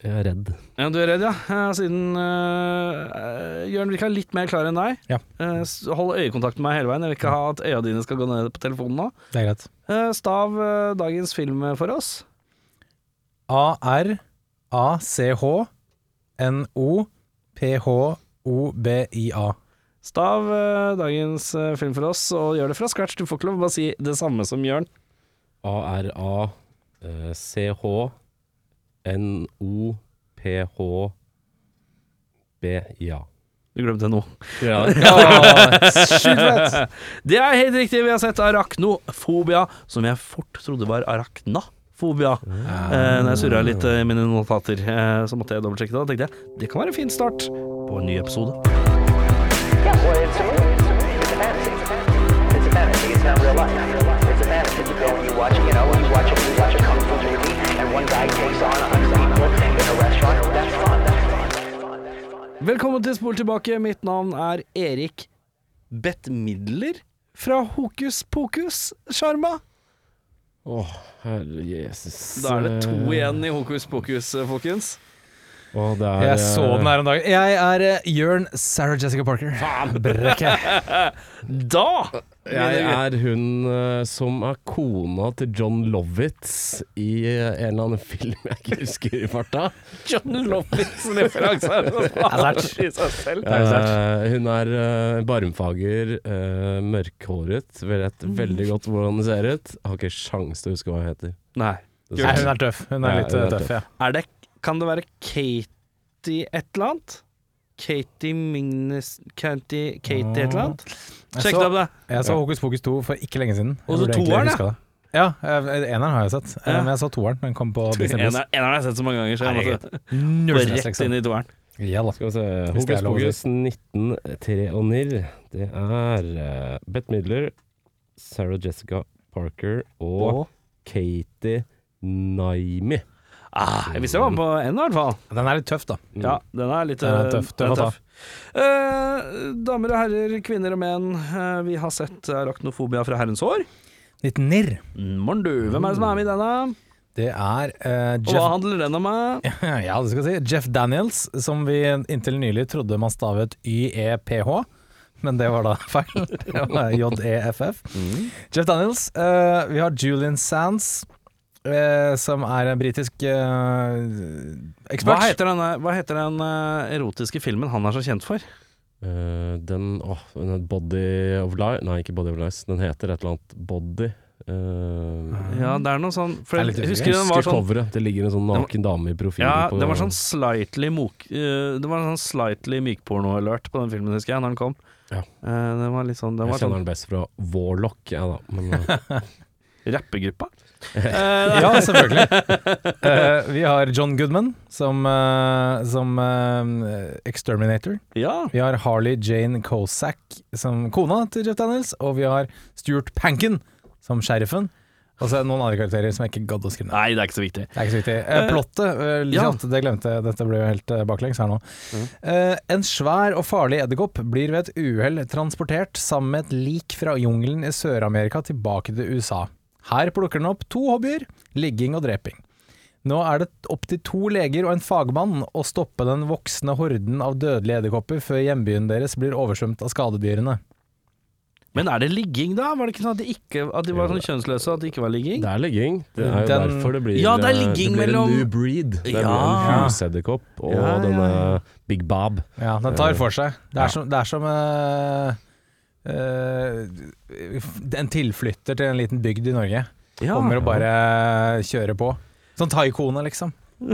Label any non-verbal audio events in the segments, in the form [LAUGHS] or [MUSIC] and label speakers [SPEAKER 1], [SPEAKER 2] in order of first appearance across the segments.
[SPEAKER 1] Jeg er redd.
[SPEAKER 2] Ja, du er redd, ja. Eh, Siden uh, Jørn virka litt mer klar enn deg.
[SPEAKER 3] Ja.
[SPEAKER 2] Eh, s- hold øyekontakt med meg hele veien. Jeg vil ikke ha at øya dine skal gå ned på telefonen nå.
[SPEAKER 3] Det er greit.
[SPEAKER 2] Eh, stav eh, dagens film for oss.
[SPEAKER 3] A-R-A-C-H-N-O-P-H-O-B-I-A.
[SPEAKER 2] Stav eh, dagens eh, film for oss, og gjør det fra scratch. Du får ikke lov å bare si det samme som Jørn.
[SPEAKER 1] A-r-a-c-h-n-o-p-h-b-ja.
[SPEAKER 2] Du glemte noe. [LAUGHS]
[SPEAKER 1] Ja,
[SPEAKER 2] Det er helt riktig. Vi har sett arachnofobia, som jeg fort trodde var arachnafobia.
[SPEAKER 1] Ah.
[SPEAKER 2] Eh, når jeg surra litt eh, i mine notater, eh, så måtte jeg dobbeltsjekke det. Og tenkte jeg, det kan være en fin start på en ny episode.
[SPEAKER 4] Yeah, well, it's a movie. It's a fantasy. It's a fantasy. It's not real life. It's a fantasy. You go and you watch, you know, you watch a, you watch a kung fu movie, and one guy takes on a hundred people in a restaurant. That's fun. That's fun. That's fun.
[SPEAKER 2] Velkommen til Spol tilbake. Mitt navn er Erik Bettmidler fra Hokus pokus sjarma.
[SPEAKER 1] Å, herre jesus.
[SPEAKER 2] Da er det to
[SPEAKER 3] Eh,
[SPEAKER 2] igjen i Hokus pokus, eh, folkens.
[SPEAKER 1] Å, det er,
[SPEAKER 3] Jeg så
[SPEAKER 1] eh,
[SPEAKER 3] den her om dagen. Jeg er eh, Jørn Sarah Jessica Parker. Brekke.
[SPEAKER 2] Da!
[SPEAKER 1] Jeg er hun eh, som er kona til John Lovitz i eh, en eller annen [LAUGHS] film jeg ikke husker i farta.
[SPEAKER 2] John Lovitz referanse er [LAUGHS] det sterkt i seg selv.
[SPEAKER 1] Eh, hun er eh, barmfager, eh, mørkhåret, vet
[SPEAKER 3] Mm.
[SPEAKER 1] veldig godt hvordan det ser ut. Har ikke sjans til å huske hva hun heter.
[SPEAKER 2] Nei.
[SPEAKER 1] Det
[SPEAKER 3] Nei,
[SPEAKER 1] er
[SPEAKER 3] hun
[SPEAKER 1] sånn-
[SPEAKER 3] er tøff. Hun
[SPEAKER 1] Ja,
[SPEAKER 3] er litt
[SPEAKER 1] hun er
[SPEAKER 3] eh, tøff, ja.
[SPEAKER 2] Er det, kan det være Katie et eller annet? Katie Mingnes Katie, Katie et eller annet?
[SPEAKER 3] Jeg
[SPEAKER 2] Sjekk
[SPEAKER 3] så-
[SPEAKER 2] det opp, da.
[SPEAKER 3] Jeg så Hokus Pokus 2 for ikke lenge siden. Jeg
[SPEAKER 2] Og så
[SPEAKER 3] burde egentlig
[SPEAKER 2] toeren,
[SPEAKER 3] huska det. Ja, eh, eneren har jeg sett. Eh,
[SPEAKER 2] Ja.
[SPEAKER 3] Men jeg så toeren. Den kom på Disney
[SPEAKER 2] En av- en har jeg sett så mange ganger, så jeg måtte
[SPEAKER 3] Null
[SPEAKER 2] bare
[SPEAKER 3] stress,
[SPEAKER 2] rett inn
[SPEAKER 3] liksom.
[SPEAKER 2] i toeren.
[SPEAKER 3] Ja da.
[SPEAKER 1] Skal vi se
[SPEAKER 3] Hvis det er
[SPEAKER 1] Hokus
[SPEAKER 3] lov å
[SPEAKER 1] pokus 1993. Det er uh, Bette Midler, Sarah Jessica Parker og Katie Naimi.
[SPEAKER 2] Ah, jeg visste jeg var på en, i hvert fall.
[SPEAKER 3] Den er litt tøff, da.
[SPEAKER 2] Ja, Mm. den er litt
[SPEAKER 3] Den er
[SPEAKER 2] eh,
[SPEAKER 3] tøff,
[SPEAKER 2] den er
[SPEAKER 3] tøff å ta.
[SPEAKER 2] Eh, damer og herrer, kvinner og menn, eh, vi har sett arachnofobia fra herrens år.
[SPEAKER 3] Litt nirr.
[SPEAKER 2] Morn du, hvem er det som er med i denne?
[SPEAKER 3] Det er eh,
[SPEAKER 2] Og hva
[SPEAKER 3] Jeff
[SPEAKER 2] handler den om? eh?
[SPEAKER 3] [LAUGHS] Ja, det skal jeg si. Jeff Daniels, som vi inntil nylig trodde man stavet YEPH, men det var da [LAUGHS] feil. Det var JEFF.
[SPEAKER 2] Mm.
[SPEAKER 3] Jeff Daniels. eh, vi har Julian Sands, eh, som er en britisk eh,
[SPEAKER 2] Hva
[SPEAKER 3] ekspert.
[SPEAKER 2] heter den, eh, hva heter den eh, erotiske filmen han er så kjent for?
[SPEAKER 1] Eh, den åh, den er Body of Lies Nei, ikke Body of Lies. Den heter et eller annet Body. Eh, Uh,
[SPEAKER 2] Ja, det er noe sånn for jeg,
[SPEAKER 3] Jeg er litt usikker.
[SPEAKER 2] husker den var sånn
[SPEAKER 1] coveret. Det ligger en sånn naken dame i profilen.
[SPEAKER 2] ja,
[SPEAKER 1] på-
[SPEAKER 2] det var sånn slightly, mok, eh, det var en sånn slightly mykporno-alert på den filmen, husker jeg, når den kom.
[SPEAKER 1] Ja.
[SPEAKER 2] Eh, den var litt sånn, den
[SPEAKER 1] Jeg
[SPEAKER 2] var
[SPEAKER 1] kjenner
[SPEAKER 2] sånn
[SPEAKER 1] den best fra Warlock, jeg da. Men, eh,
[SPEAKER 2] rappegruppa.
[SPEAKER 3] Ja, selvfølgelig. Eh, vi har John Goodman som, eh, som eh, exterminator.
[SPEAKER 2] Ja.
[SPEAKER 3] Vi har Harley Jane Kosak som kona til Jeff Daniels, og vi har Stuart Panken som sheriffen. Og så er det noen andre karakterer som jeg ikke gadd å skrive ned.
[SPEAKER 2] Nei, det er ikke så viktig.
[SPEAKER 3] Det er ikke så viktig. Eh, Plottet, eh, litt
[SPEAKER 2] ja.
[SPEAKER 3] kjapt, det glemte jeg. Dette ble jo helt eh, baklengs her nå. Eh, en svær og farlig edderkopp blir ved et uhell transportert sammen med et lik fra jungelen i Sør-Amerika tilbake til USA. Her plukker den opp to hobbyer, ligging og dreping. Nå er det opp til to leger og en fagmann å stoppe den voksende horden av dødelige edderkopper før hjembyen deres blir oversvømt av skadedyrene.
[SPEAKER 2] Men er det ligging, da? Var det ikke sånn at de, ikke, at de var
[SPEAKER 1] Jo,
[SPEAKER 2] sånn kjønnsløse, at det ikke var ligging?
[SPEAKER 1] det er ligging. Det er jo
[SPEAKER 3] Den-
[SPEAKER 1] derfor det blir
[SPEAKER 2] Ja, det er
[SPEAKER 1] eh,
[SPEAKER 2] ligging
[SPEAKER 1] det blir
[SPEAKER 2] mellom-
[SPEAKER 1] en new breed. Det blir
[SPEAKER 2] Ja.
[SPEAKER 1] en husedderkopp og
[SPEAKER 2] Ja, ja,
[SPEAKER 1] denne
[SPEAKER 2] ja.
[SPEAKER 1] Big Bob. [LAUGHS]
[SPEAKER 3] Ja, den tar for seg. Det er som, det er som eh, eh, f- en tilflytter til en liten bygd i Norge.
[SPEAKER 2] Ja.
[SPEAKER 3] Kommer og bare kjører på. Sånn taikone, liksom.
[SPEAKER 2] [LAUGHS]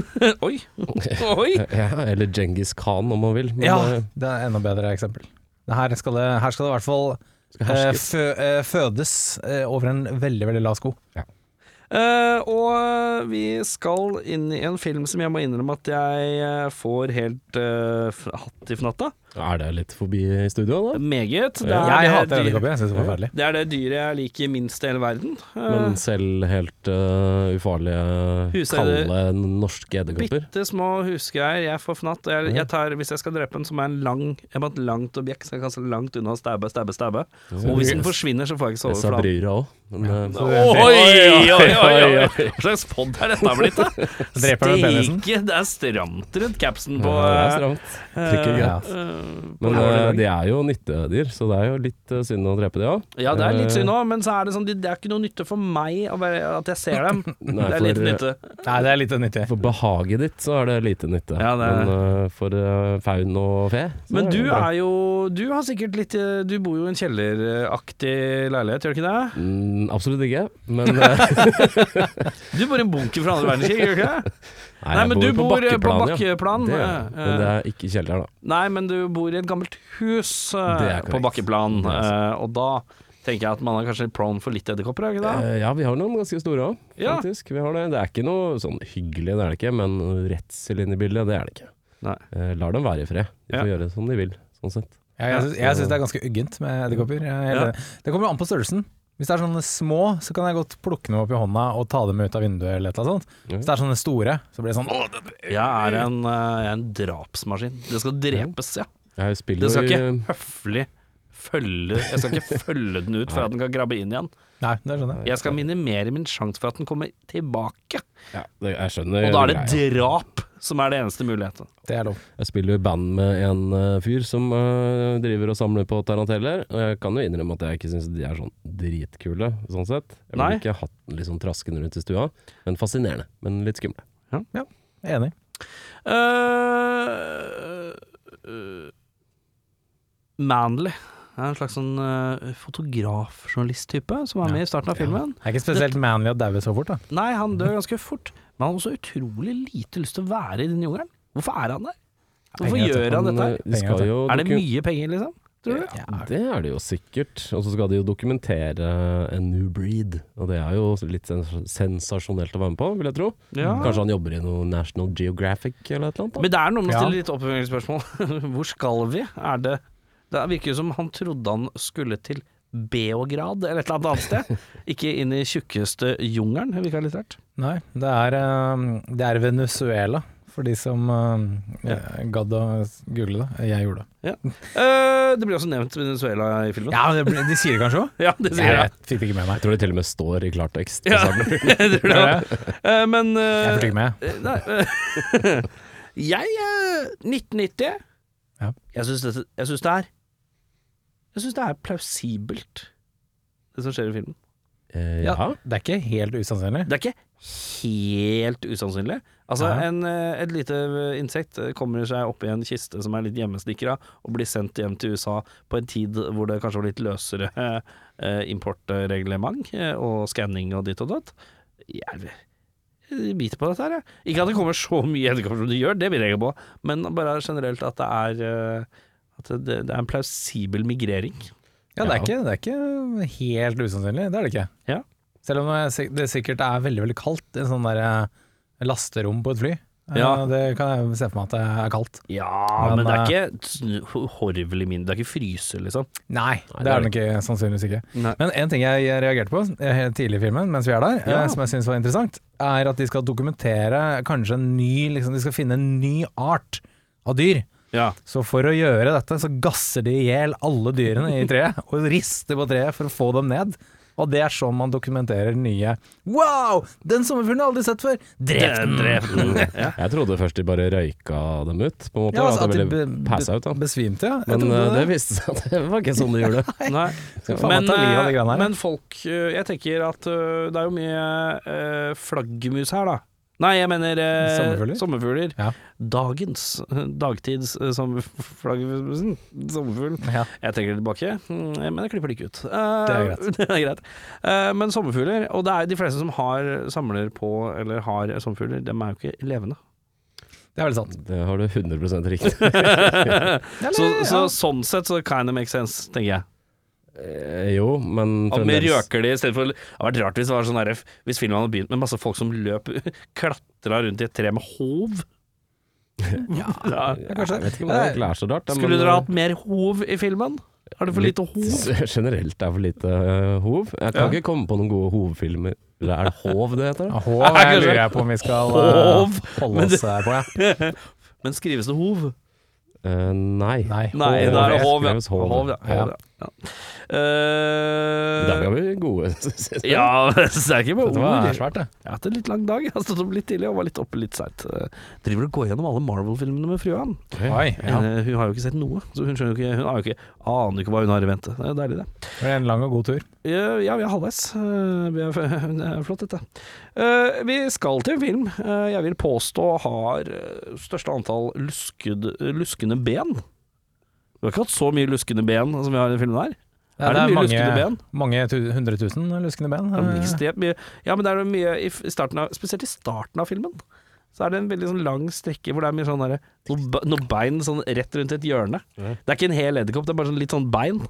[SPEAKER 2] Oi. Oi.
[SPEAKER 1] Ja, eller Djengis Khan, om man vil. Men
[SPEAKER 3] Ja,
[SPEAKER 1] eh,
[SPEAKER 3] det er enda bedre eksempel. Her skal det, her skal det i hvert fall
[SPEAKER 1] skal
[SPEAKER 3] eh,
[SPEAKER 1] herskes.
[SPEAKER 3] fø, eh, fødes eh, over en veldig, veldig lav sko.
[SPEAKER 2] Eh, og vi skal inn i en film som jeg må innrømme at jeg eh, får helt eh, f- hatt i fnatta.
[SPEAKER 1] Er det litt forbi i studio, da?
[SPEAKER 2] Meget. Det er
[SPEAKER 3] Jeg
[SPEAKER 2] det
[SPEAKER 3] hater
[SPEAKER 2] dyr-
[SPEAKER 3] edderkopper, jeg syns det er forferdelig.
[SPEAKER 2] Det er det dyret jeg liker minst i hele verden. Eh,
[SPEAKER 1] Men selv helt øh, ufarlige,
[SPEAKER 2] Huseier-
[SPEAKER 1] kalde norske edderkopper?
[SPEAKER 2] Bitte små husgreier. Jeg får fnatt. Jeg, jeg tar, hvis jeg skal drepe en, så må jeg ha en lang, jeg må ha et langt objekt som jeg kan se langt unna og stabbe, stabbe, stabbe. Og hvis den forsvinner, så får jeg ikke sove
[SPEAKER 1] Disse
[SPEAKER 2] for
[SPEAKER 1] bryr jeg òg. Men øh,
[SPEAKER 2] Oi, oi, oi, oi! Hva slags pod er dette blitt,
[SPEAKER 1] [LAUGHS]
[SPEAKER 2] da?
[SPEAKER 3] Dreper den penisen?
[SPEAKER 2] Steike, det er stramt rundt capsen på
[SPEAKER 1] [LAUGHS]
[SPEAKER 2] eh,
[SPEAKER 1] det er stramt. Trykker
[SPEAKER 3] Ja.
[SPEAKER 1] greit. Men øh, de er jo nyttedyr, så det er jo litt øh, synd å drepe de òg.
[SPEAKER 2] Ja, det er litt
[SPEAKER 1] Eh.
[SPEAKER 2] synd òg, men så er det sånn, det er ikke noe nytte for meg å være, at jeg ser dem.
[SPEAKER 1] [LAUGHS] Nei,
[SPEAKER 2] det er litt
[SPEAKER 1] for- eh,
[SPEAKER 2] nytte.
[SPEAKER 3] Nei, det er litt nyttig.
[SPEAKER 1] For behaget ditt så er det lite nytte,
[SPEAKER 2] Ja, det er-
[SPEAKER 1] men øh, for øh, faun og fe så
[SPEAKER 2] Men du
[SPEAKER 1] det bra.
[SPEAKER 2] er jo Du har sikkert litt eh, Du bor jo i en kjelleraktig leilighet, gjør du ikke det?
[SPEAKER 1] Mm, Absolutt ikke, men
[SPEAKER 2] [LAUGHS]
[SPEAKER 1] øh,
[SPEAKER 2] Du bor i en bunker fra andre verdenskrig, gjør du ikke det?
[SPEAKER 1] [LAUGHS] Nei,
[SPEAKER 2] Nei,
[SPEAKER 1] jeg
[SPEAKER 2] men du bor eh, på
[SPEAKER 1] bakkeplan,
[SPEAKER 2] bakkeplan.
[SPEAKER 1] ja. Det,
[SPEAKER 2] eh,
[SPEAKER 1] er- men det er ikke kjeller, da.
[SPEAKER 2] Nei, men du bor i et gammelt hus eh,
[SPEAKER 1] Det er korrekt.
[SPEAKER 2] på bakkeplan,
[SPEAKER 1] Det er
[SPEAKER 2] eh, og da tenker jeg at man er kanskje prone for litt edderkopper, er det ikke det?
[SPEAKER 1] Eh, Ja, vi har noen ganske store òg,
[SPEAKER 2] Ja.
[SPEAKER 1] faktisk. Vi har det. det er ikke noe sånn hyggelig, det er det ikke, men redsel inn i bildet, det er det ikke.
[SPEAKER 2] Nei.
[SPEAKER 1] Eh, Lar dem være i fred. De får gjøre som de vil, sånn sett.
[SPEAKER 3] Ja, jeg syns, jeg syns det er ganske uggent med edderkopper. Jeg er helt
[SPEAKER 2] Ja.
[SPEAKER 3] enig. Det kommer an på størrelsen. Hvis det er sånne små, så kan jeg godt plukke dem opp i hånda og ta dem ut av vinduet eller et eller annet sånt. Hvis det er sånne store, så blir det sånn «Åh, det-
[SPEAKER 2] Jeg er en, eh, jeg er en drapsmaskin. Det skal drepes, ja.
[SPEAKER 1] Jeg
[SPEAKER 2] Det
[SPEAKER 1] spiller
[SPEAKER 2] skal
[SPEAKER 1] jo
[SPEAKER 2] ikke
[SPEAKER 1] i-
[SPEAKER 2] høflig følge Jeg skal ikke følge den
[SPEAKER 1] [LAUGHS]
[SPEAKER 2] ut for at den kan grabbe inn igjen.
[SPEAKER 3] Nei, det skjønner jeg.
[SPEAKER 2] Jeg skal minimere min sjanse for at den kommer tilbake.
[SPEAKER 1] ja, det, Jeg skjønner
[SPEAKER 2] Og da er det
[SPEAKER 1] greia.
[SPEAKER 2] drap som er det eneste muligheten.
[SPEAKER 3] Det er lov.
[SPEAKER 1] Jeg spiller jo i band med en eh, fyr som eh, driver og samler på taranteller. Og jeg kan jo innrømme at jeg ikke syns de er sånn dritkule, sånn sett. Jeg
[SPEAKER 2] Nei.
[SPEAKER 1] ville ikke hatt den liksom traskende rundt i stua, men fascinerende. Men litt skumle.
[SPEAKER 3] Enig.
[SPEAKER 2] eh eh, Manley er en slags sånn eh, fotografjournalist-type som er med i starten av filmen.
[SPEAKER 3] Det er ikke spesielt manly å daue så fort, da.
[SPEAKER 2] Nei, han dør ganske fort, men han har også utrolig lite lyst til å være i den jungelen. Hvorfor er han der? Hvorfor
[SPEAKER 3] Penger til
[SPEAKER 2] gjør han
[SPEAKER 1] Men,
[SPEAKER 2] dette?
[SPEAKER 1] eh,
[SPEAKER 2] her?
[SPEAKER 1] de skal
[SPEAKER 3] Penger
[SPEAKER 1] jo
[SPEAKER 2] Er det
[SPEAKER 1] dokum-
[SPEAKER 2] mye penger, liksom? Tror du?
[SPEAKER 1] Det er det jo sikkert. Og så skal de jo dokumentere en new breed, og det er jo litt sens sensasjonelt å være med på, vil jeg tro.
[SPEAKER 2] Ja.
[SPEAKER 1] Kanskje han jobber i noe National Geographic eller et eller annet.
[SPEAKER 2] Men det er noe med å
[SPEAKER 3] Ja.
[SPEAKER 2] stille litt oppfølgingsspørsmål. [LAUGHS] Hvor skal vi? Er det Det virker jo som han trodde han skulle til Beograd eller et eller annet annet sted. Ikke inn i tjukkeste jungelen, virka litt rart.
[SPEAKER 3] Nei, det er, eh, det er Venezuela, for de som eh, gadd å google det. Jeg gjorde det.
[SPEAKER 2] Eh, det blir også nevnt Venezuela i filmen.
[SPEAKER 3] Ja, men det blir- De sier det [LAUGHS] kanskje òg?
[SPEAKER 2] Ja, det sier
[SPEAKER 3] Jeg
[SPEAKER 2] jeg.
[SPEAKER 3] vet- fikk det ikke med
[SPEAKER 1] da.
[SPEAKER 3] meg.
[SPEAKER 1] Jeg tror det til og med står i klartekst.
[SPEAKER 2] Ja.
[SPEAKER 1] Ja.
[SPEAKER 3] [LAUGHS]
[SPEAKER 2] Jeg tror [LAUGHS] det. Eh, men
[SPEAKER 3] Jeg
[SPEAKER 2] eh,
[SPEAKER 3] fikk det ikke med.
[SPEAKER 2] eh, Nei. [LAUGHS] eh, jeg eh, 1990
[SPEAKER 3] Ja.
[SPEAKER 2] Jeg syns det, jeg syns det er Jeg syns det er plausibelt, det som skjer i filmen.
[SPEAKER 1] Eh, ja.
[SPEAKER 3] Det er ikke helt usannsynlig.
[SPEAKER 2] Det er ikke helt usannsynlig. Altså,
[SPEAKER 3] Nei.
[SPEAKER 2] en, eh, et lite insekt eh, kommer seg opp i en kiste som er litt hjemmesnikra, og blir sendt hjem til USA på en tid hvor det kanskje var litt løsere eh, eh, importreglement eh, og skanning og ditt og datt. Jeg jeg biter på dette her, jeg. Ikke at det kommer så mye edderkopper som det gjør, det vil jeg ikke på, men bare generelt at det er eh, at det, det er en plausibel migrering.
[SPEAKER 3] Ja, det er ikke, det er ikke helt usannsynlig, det er det ikke.
[SPEAKER 2] Ja.
[SPEAKER 3] Selv om det sik- det sikkert er veldig veldig kaldt i en sånn der eh, lasterom på et fly. Eh,
[SPEAKER 2] Ja.
[SPEAKER 3] Det kan jeg se for meg at det er kaldt.
[SPEAKER 2] Ja, men, eh,
[SPEAKER 3] Men,
[SPEAKER 2] det er ikke horvelig mindre. Det er ikke fryse, liksom.
[SPEAKER 3] Nei, det,
[SPEAKER 1] det er
[SPEAKER 3] er den ikke, sannsynligvis ikke.
[SPEAKER 2] Nei.
[SPEAKER 3] Men en ting jeg reagerte på eh, helt tidlig i filmen, mens vi er der,
[SPEAKER 2] Ja.
[SPEAKER 3] eh, som jeg syns var interessant, er at de skal dokumentere kanskje en ny liksom, De skal finne en ny art av dyr.
[SPEAKER 2] Ja.
[SPEAKER 3] Så for å gjøre dette, så gasser de i hjel alle dyrene i treet, og rister på treet for å få dem ned. Og det er sånn man dokumenterer nye Wow! Den sommerfuglen har jeg aldri sett før! Drep den!
[SPEAKER 2] ja.
[SPEAKER 1] Jeg trodde først de bare røyka dem ut, på en måte.
[SPEAKER 3] Ja, altså,
[SPEAKER 1] at de
[SPEAKER 3] be-
[SPEAKER 1] ville
[SPEAKER 3] be-
[SPEAKER 1] passe ut, da.
[SPEAKER 3] Besvimte, ja. Jeg
[SPEAKER 1] Men
[SPEAKER 3] trodde
[SPEAKER 1] eh, det viste seg at det var ikke sånn de gjorde det.
[SPEAKER 2] Nei.
[SPEAKER 3] [LAUGHS] Skal faen meg
[SPEAKER 2] Men,
[SPEAKER 3] ta livet av de
[SPEAKER 2] eh,
[SPEAKER 3] greiene her.
[SPEAKER 2] men folk eh, Jeg tenker at eh, det er jo mye eh, flaggermus her, da. Nei, jeg mener eh,
[SPEAKER 3] Sommerfugler?
[SPEAKER 2] sommerfugler.
[SPEAKER 3] Ja.
[SPEAKER 2] Dagens. eh, Dagtids eh, sommer- flaggermusen. Sommerfugl.
[SPEAKER 3] Ja.
[SPEAKER 2] Jeg trekker det tilbake, mm, men jeg klipper det ikke ut.
[SPEAKER 3] er
[SPEAKER 2] greit. [LAUGHS] det er greit. Eh, men sommerfugler, og det er jo de fleste som har samler på eller har sommerfugler, dem er jo ikke levende.
[SPEAKER 3] Det er veldig sant.
[SPEAKER 1] Det har du 100 riktig.
[SPEAKER 2] så, så sånn sett så kind of makes sense, tenker jeg.
[SPEAKER 1] Eh, jo, men
[SPEAKER 2] At vi
[SPEAKER 1] fremdeles-
[SPEAKER 2] røker det i stedet for Det hadde vært rart hvis det var sånn her [LAUGHS] Hvis filmen hadde begynt med masse folk som løp Klatra rundt i et tre med hov [LAUGHS] Ja.
[SPEAKER 1] Jeg
[SPEAKER 3] kanskje.
[SPEAKER 1] vet ikke om det
[SPEAKER 3] Eh,
[SPEAKER 1] egentlig er så rart. da,
[SPEAKER 2] Skulle
[SPEAKER 1] men-
[SPEAKER 2] dere hatt mer hov i filmen? Er det for lite hov?
[SPEAKER 1] Litt [LAUGHS] Generelt er for lite eh, hov. Jeg kan
[SPEAKER 2] Ja.
[SPEAKER 1] ikke komme på noen gode hovfilmer. Eller Er det hov det heter? da?
[SPEAKER 3] Hå, jeg lurer jeg på om vi skal eh,
[SPEAKER 2] Hov?
[SPEAKER 3] holde
[SPEAKER 2] Men
[SPEAKER 3] oss
[SPEAKER 2] det-
[SPEAKER 3] eh, på, ja.
[SPEAKER 2] Men skrives det hov?
[SPEAKER 1] Eh, nei.
[SPEAKER 3] Nei,
[SPEAKER 2] Nei,
[SPEAKER 1] Hov.
[SPEAKER 2] det er hov, ja.
[SPEAKER 1] Skrives hov.
[SPEAKER 2] Hov, ja. Hov, ja. ja. Eh,
[SPEAKER 1] Der var vi gode. [LAUGHS] synes jeg.
[SPEAKER 2] ja, så [LAUGHS] det er ikke
[SPEAKER 3] Dette
[SPEAKER 2] med
[SPEAKER 3] var
[SPEAKER 2] ord.
[SPEAKER 3] svært, det.
[SPEAKER 2] Jeg har hatt en litt lang dag. Jeg har stått opp litt tidlig og var litt oppe litt seint. Eh, Driver og går gjennom alle Marvel-filmene med frua.
[SPEAKER 3] Oi. Ja.
[SPEAKER 2] Eh, Hun har jo ikke sett noe, så hun skjønner jo ikke Hun har jo ikke, aner jo ikke hva hun har i vente. Det er jo deilig, det.
[SPEAKER 3] Det var en lang og god tur.
[SPEAKER 2] Eh, Ja, vi er halvveis. Eh, Vi er, [LAUGHS] det er flott, dette. Eh, Vi skal til en film eh, jeg vil påstå har eh, største antall luskede, luskende ben. Vi har ikke hatt så mye luskende ben som vi har i denne filmen her.
[SPEAKER 3] Ja,
[SPEAKER 2] Er det mye luskende ben?
[SPEAKER 3] Mange tu- hundre tusen luskende ben.
[SPEAKER 2] Det er
[SPEAKER 3] eh.
[SPEAKER 2] ekstremt mye Ja, men det er jo mye i f- i starten av Spesielt i starten av filmen Så er det en veldig sånn lang strekke Hvor det er mye sånn derre noe be- Noe bein sånn rett rundt et hjørne Det er ikke en hel edderkopp Det er bare sånn litt sånn bein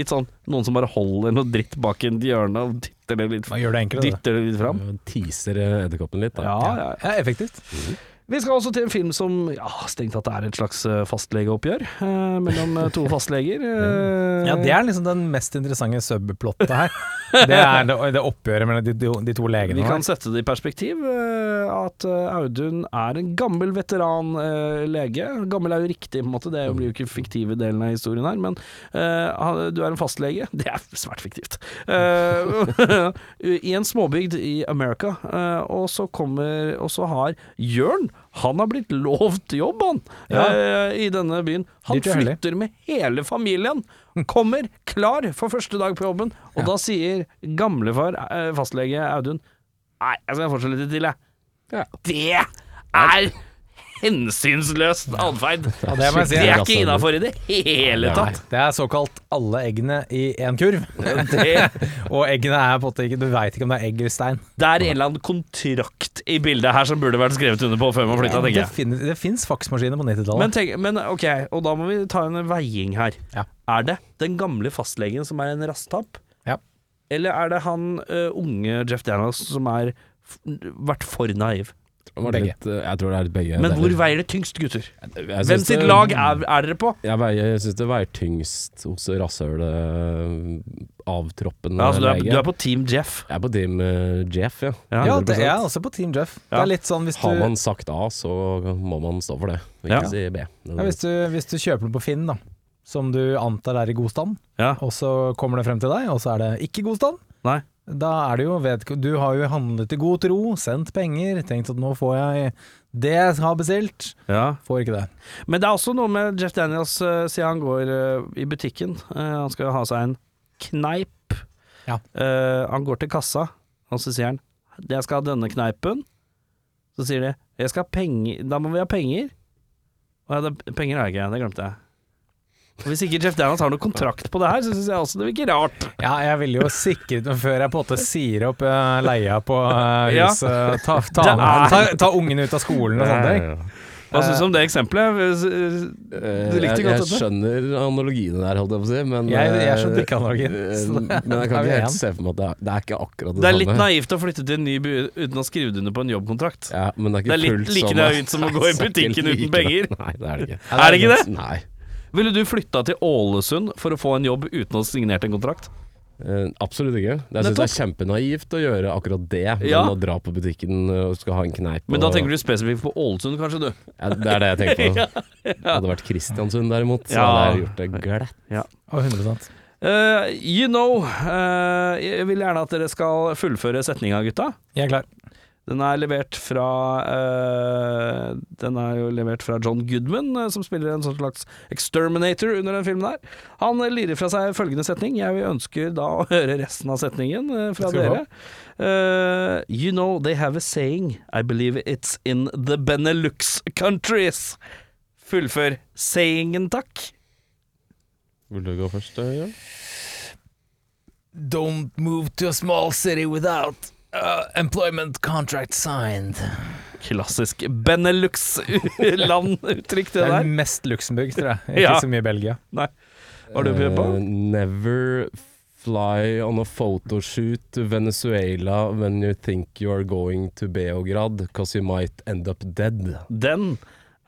[SPEAKER 2] Litt sånn Noen som bare holder noe dritt bak en hjørne Og dytter det litt,
[SPEAKER 3] Man gjør det enklere, det.
[SPEAKER 2] dytter det litt fram
[SPEAKER 1] Teaser eh, Edderkoppen litt, da.
[SPEAKER 2] ja, ja,
[SPEAKER 3] Ja, effektivt.
[SPEAKER 2] Vi skal også til en film som Ja, strengt tatt er et slags eh, fastlegeoppgjør eh, Mellom eh, to fastleger eh,
[SPEAKER 3] Ja, Det er liksom den mest interessante subplottet her. Det er det, det oppgjøret mellom de, de, de to legene.
[SPEAKER 2] Vi
[SPEAKER 3] her.
[SPEAKER 2] kan sette det i perspektiv. eh, At eh, Audun er en gammel veteran eh, lege. Gammel er jo riktig, på en måte, det er jo- blir jo ikke fiktive delen av historien her. Men eh, han- du er en fastlege. [LAUGHS] Det er svært fiktivt. Eh, [LAUGHS] I en småbygd i America. eh, Og så kommer Og så har Jørn Han har blitt lovt jobb, han,
[SPEAKER 3] Ja.
[SPEAKER 2] eh, i denne byen. Han
[SPEAKER 3] Dyrt og hellig.
[SPEAKER 2] flytter med hele familien. Kommer klar for første dag på jobben, og da sier gamlefar, eh, fastlege Audun Nei, jeg skal fortsette litt til, jeg. Det er hensynsløst atferd.
[SPEAKER 3] Ja, det må jeg si.
[SPEAKER 2] Det er ikke innafor i det hele
[SPEAKER 3] Nei,
[SPEAKER 2] tatt.
[SPEAKER 3] det er såkalt alle eggene i én
[SPEAKER 2] [LAUGHS]
[SPEAKER 3] kurv.
[SPEAKER 2] Det,
[SPEAKER 3] Og eggene er på en måte ikke Du veit ikke om det er egg eller stein.
[SPEAKER 2] det er en eller annen kontrakt i bildet her som burde vært skrevet under på før man flytta, tenker
[SPEAKER 3] Det,
[SPEAKER 2] jeg.
[SPEAKER 3] finnes, det fins faksmaskiner på
[SPEAKER 2] Men,
[SPEAKER 3] 90-tallet.
[SPEAKER 2] tenk, men ok, og da må vi ta en veiing her.
[SPEAKER 3] Ja.
[SPEAKER 2] Er det den gamle fastlegen som er en rasttapp?
[SPEAKER 3] Ja.
[SPEAKER 2] Eller er det han ø, unge Jeff Daniels som er f vært for naiv?
[SPEAKER 1] Det var
[SPEAKER 3] Begge.
[SPEAKER 1] Litt, eh, jeg tror det er litt begge.
[SPEAKER 2] Men
[SPEAKER 1] deler.
[SPEAKER 2] hvor veier det tyngst, gutter?
[SPEAKER 1] Jeg synes
[SPEAKER 2] Hvem sitt
[SPEAKER 1] det-
[SPEAKER 2] lag er, er dere på?
[SPEAKER 1] Jeg, veier- jeg syns det veier tyngst hos rasshølet avtroppende
[SPEAKER 2] Ja, altså, du, er,
[SPEAKER 1] lege.
[SPEAKER 2] du er på Team Jeff.
[SPEAKER 1] Jeg er på team eh, Jeff, ja.
[SPEAKER 3] Ja, det
[SPEAKER 1] 100%.
[SPEAKER 3] jeg er også på Team Jeff. Det
[SPEAKER 2] Ja.
[SPEAKER 3] er litt sånn hvis du,
[SPEAKER 1] Har man sagt A, så må man stå for det. Ikke
[SPEAKER 2] Ja.
[SPEAKER 1] si B.
[SPEAKER 3] ja, hvis du, hvis du kjøper den på Finn, da. Som du antar er i god stand,
[SPEAKER 2] Ja.
[SPEAKER 3] og så kommer det frem til deg, og så er det ikke i god stand.
[SPEAKER 2] Nei.
[SPEAKER 3] Da er det jo vedk- Du har jo handlet i god tro, sendt penger, tenkt at nå får jeg det jeg har bestilt. Får ikke det.
[SPEAKER 2] Men det er også noe med Jeff Daniels, eh, siden han går eh, i butikken. eh, han skal ha seg en kneip.
[SPEAKER 3] Ja.
[SPEAKER 2] Eh, han går til kassa, og så sier han 'Jeg skal ha denne kneipen'. Så sier de 'Jeg skal ha penger'. Da må vi ha penger. Å ja, det, penger har jeg ikke, det glemte jeg. Og Hvis ikke Jeff Daniels har noen kontrakt på det her, så syns jeg også det virker rart.
[SPEAKER 3] Ja, jeg ville jo sikret meg før jeg på en måte sier opp eh, leia på eh,
[SPEAKER 2] Ja.
[SPEAKER 3] huset. Ta, ta,
[SPEAKER 2] [LAUGHS] Det er-
[SPEAKER 3] ta, ta ungen ut av skolen og sånne ting.
[SPEAKER 2] Hva syns du om det eksempelet? eh, Du likte godt
[SPEAKER 1] Eh, Jeg
[SPEAKER 2] dette?
[SPEAKER 1] skjønner analogiene der, holdt jeg på å si, men
[SPEAKER 3] Jeg, jeg
[SPEAKER 1] eh,
[SPEAKER 3] skjønte ikke analogien.
[SPEAKER 1] eh,
[SPEAKER 3] så det-
[SPEAKER 1] Men jeg
[SPEAKER 3] er vi
[SPEAKER 1] kan ikke
[SPEAKER 3] igjen.
[SPEAKER 1] helt se for meg at det er, det er ikke akkurat det,
[SPEAKER 2] Det er litt
[SPEAKER 1] samme.
[SPEAKER 2] naivt å flytte til en ny by uten å ha skrevet under på en jobbkontrakt.
[SPEAKER 1] Ja, men
[SPEAKER 2] Det
[SPEAKER 1] det er ikke
[SPEAKER 2] er litt
[SPEAKER 1] fullt
[SPEAKER 2] like
[SPEAKER 1] sånn, da.
[SPEAKER 2] naivt som å gå i
[SPEAKER 1] [LAUGHS] Det er ikke
[SPEAKER 2] butikken uten
[SPEAKER 1] like
[SPEAKER 2] penger.
[SPEAKER 1] naivt. [LAUGHS] Nei, det er det ikke.
[SPEAKER 2] Er det ikke det?
[SPEAKER 1] Nei.
[SPEAKER 2] Ville du flytta til Ålesund for å få en jobb uten å ha signert en kontrakt?
[SPEAKER 1] Eh, absolutt ikke. Jeg syns det er kjempenaivt å gjøre akkurat det, men
[SPEAKER 2] Ja.
[SPEAKER 1] å dra på butikken eh, og skal ha en kneip
[SPEAKER 2] Men da
[SPEAKER 1] og-
[SPEAKER 2] tenker du spesifikt på Ålesund, kanskje, du?
[SPEAKER 1] ja, Det er det jeg tenker på.
[SPEAKER 2] [LAUGHS]
[SPEAKER 1] Hadde det vært Kristiansund derimot, så
[SPEAKER 2] Ja.
[SPEAKER 1] hadde jeg gjort det glatt.
[SPEAKER 3] Å, 100
[SPEAKER 2] Eh, you know eh, Jeg vil gjerne at dere skal fullføre setninga, gutta.
[SPEAKER 3] Jeg er klar.
[SPEAKER 2] Den er levert fra eh, Den er jo levert fra John Goodman, eh, som spiller en sånn slags exterminator under den filmen her. Han eh, lirer fra seg følgende setning. Jeg ønsker da å høre resten av setningen eh, fra
[SPEAKER 3] Skal vi
[SPEAKER 2] dere. Eh, you know they have a saying. I believe it's in the Benelux countries. Fullfør sayingen, takk.
[SPEAKER 1] Vil du gå først, eh, Jørn?
[SPEAKER 5] Don't move to a small city without uh, employment contract signed.
[SPEAKER 2] Klassisk Benelux-land-uttrykk, det
[SPEAKER 3] Det er
[SPEAKER 2] der.
[SPEAKER 3] mest Luxembourg, tror jeg. Ikke
[SPEAKER 2] Ja.
[SPEAKER 3] så mye Belgia.
[SPEAKER 2] Nei. Hva har du prøvd på?
[SPEAKER 1] Eh, never fly on a photoshoot to Venezuela when you think you are going to Beograd, cause you might end up dead.
[SPEAKER 2] Den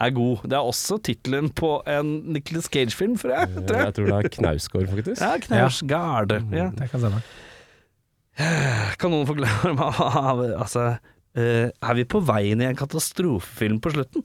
[SPEAKER 2] er god. Det er også tittelen på en Nicholas Cage-film, tror jeg. Tror jeg.
[SPEAKER 1] Jeg tror det er Knausgård, faktisk.
[SPEAKER 2] Ja, Knausgard. Ja.
[SPEAKER 3] Det kan stemme.
[SPEAKER 2] Kan noen forklare meg hva- hva- Altså, eh, er vi på vei inn i en katastrofefilm på slutten?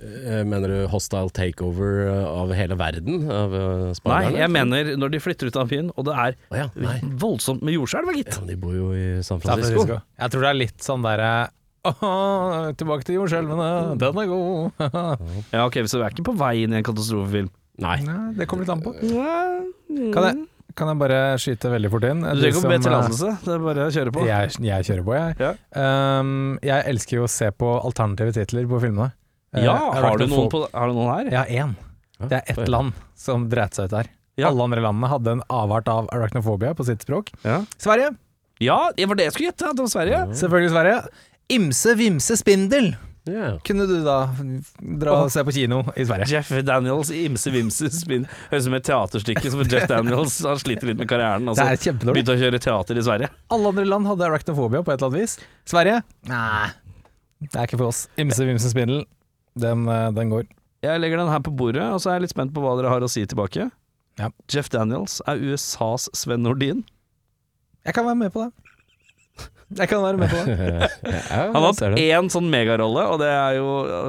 [SPEAKER 1] Eh, Mener du hostile takeover eh, av hele verden? Av eh,
[SPEAKER 2] Nei,
[SPEAKER 1] spanerne?
[SPEAKER 2] jeg mener når de flytter ut av byen, og det er
[SPEAKER 1] Å ja, nei.
[SPEAKER 2] voldsomt med jordskjelv, gitt.
[SPEAKER 1] Ja, men de bor jo i
[SPEAKER 3] San
[SPEAKER 1] San Francisco.
[SPEAKER 3] Francisco. Jeg tror det er litt sånn derre «Åh, tilbake til jordskjelvene, den er god.
[SPEAKER 2] [LAUGHS] Ja, ok, Så vi er ikke på vei inn i en katastrofefilm?
[SPEAKER 1] Nei.
[SPEAKER 3] Nei, det kommer litt an på.
[SPEAKER 2] Kan
[SPEAKER 3] Kan jeg, kan jeg bare skyte veldig fort inn?
[SPEAKER 2] Mm. Du
[SPEAKER 3] De
[SPEAKER 2] trenger ikke å be
[SPEAKER 3] som, eh,
[SPEAKER 2] tillatelse, det er bare å kjøre på.
[SPEAKER 3] Jeg, jeg kjører på, jeg.
[SPEAKER 2] Ja.
[SPEAKER 3] Ehm, jeg elsker jo å se på alternative titler på filmene. Eh,
[SPEAKER 2] Ja,
[SPEAKER 3] jeg
[SPEAKER 2] har
[SPEAKER 3] vært
[SPEAKER 2] du
[SPEAKER 3] med
[SPEAKER 2] noen,
[SPEAKER 3] folk-
[SPEAKER 2] på, har du noen her?
[SPEAKER 3] Ja, én. Det er ett land som dreit seg ut der.
[SPEAKER 2] Ja.
[SPEAKER 3] Alle andre landene hadde en avart av arachnofobia på sitt språk.
[SPEAKER 2] Ja.
[SPEAKER 3] Sverige!
[SPEAKER 2] Ja, det var det jeg skulle gjette, at det var Sverige.
[SPEAKER 3] Selvfølgelig Sverige. Imse vimse spindel
[SPEAKER 1] Ja.
[SPEAKER 3] kunne du da dra og se på kino i Sverige.
[SPEAKER 2] Jeff Daniels i Imse Vimse spinn. Høres ut som et teaterstykke, som Jeff Daniels han sliter litt med karrieren.
[SPEAKER 3] Det
[SPEAKER 2] Altså.
[SPEAKER 3] er kjempedårlig.
[SPEAKER 2] Begynte å kjøre teater i Sverige.
[SPEAKER 3] Alle andre land hadde arachnofobia på et eller annet vis. Sverige? Nei, det er ikke for oss. Imse vimse spindel, den, eh, den går.
[SPEAKER 2] Jeg legger den her på bordet, og så er jeg litt spent på hva dere har å si tilbake.
[SPEAKER 3] Ja.
[SPEAKER 2] Jeff Daniels er USAs Sven Nordin.
[SPEAKER 3] Jeg kan være med på det. Jeg kan være med på [LAUGHS] det.
[SPEAKER 1] ja,
[SPEAKER 2] Han har
[SPEAKER 1] jeg ser
[SPEAKER 2] hatt
[SPEAKER 1] det.
[SPEAKER 2] én sånn megarolle, og det er jo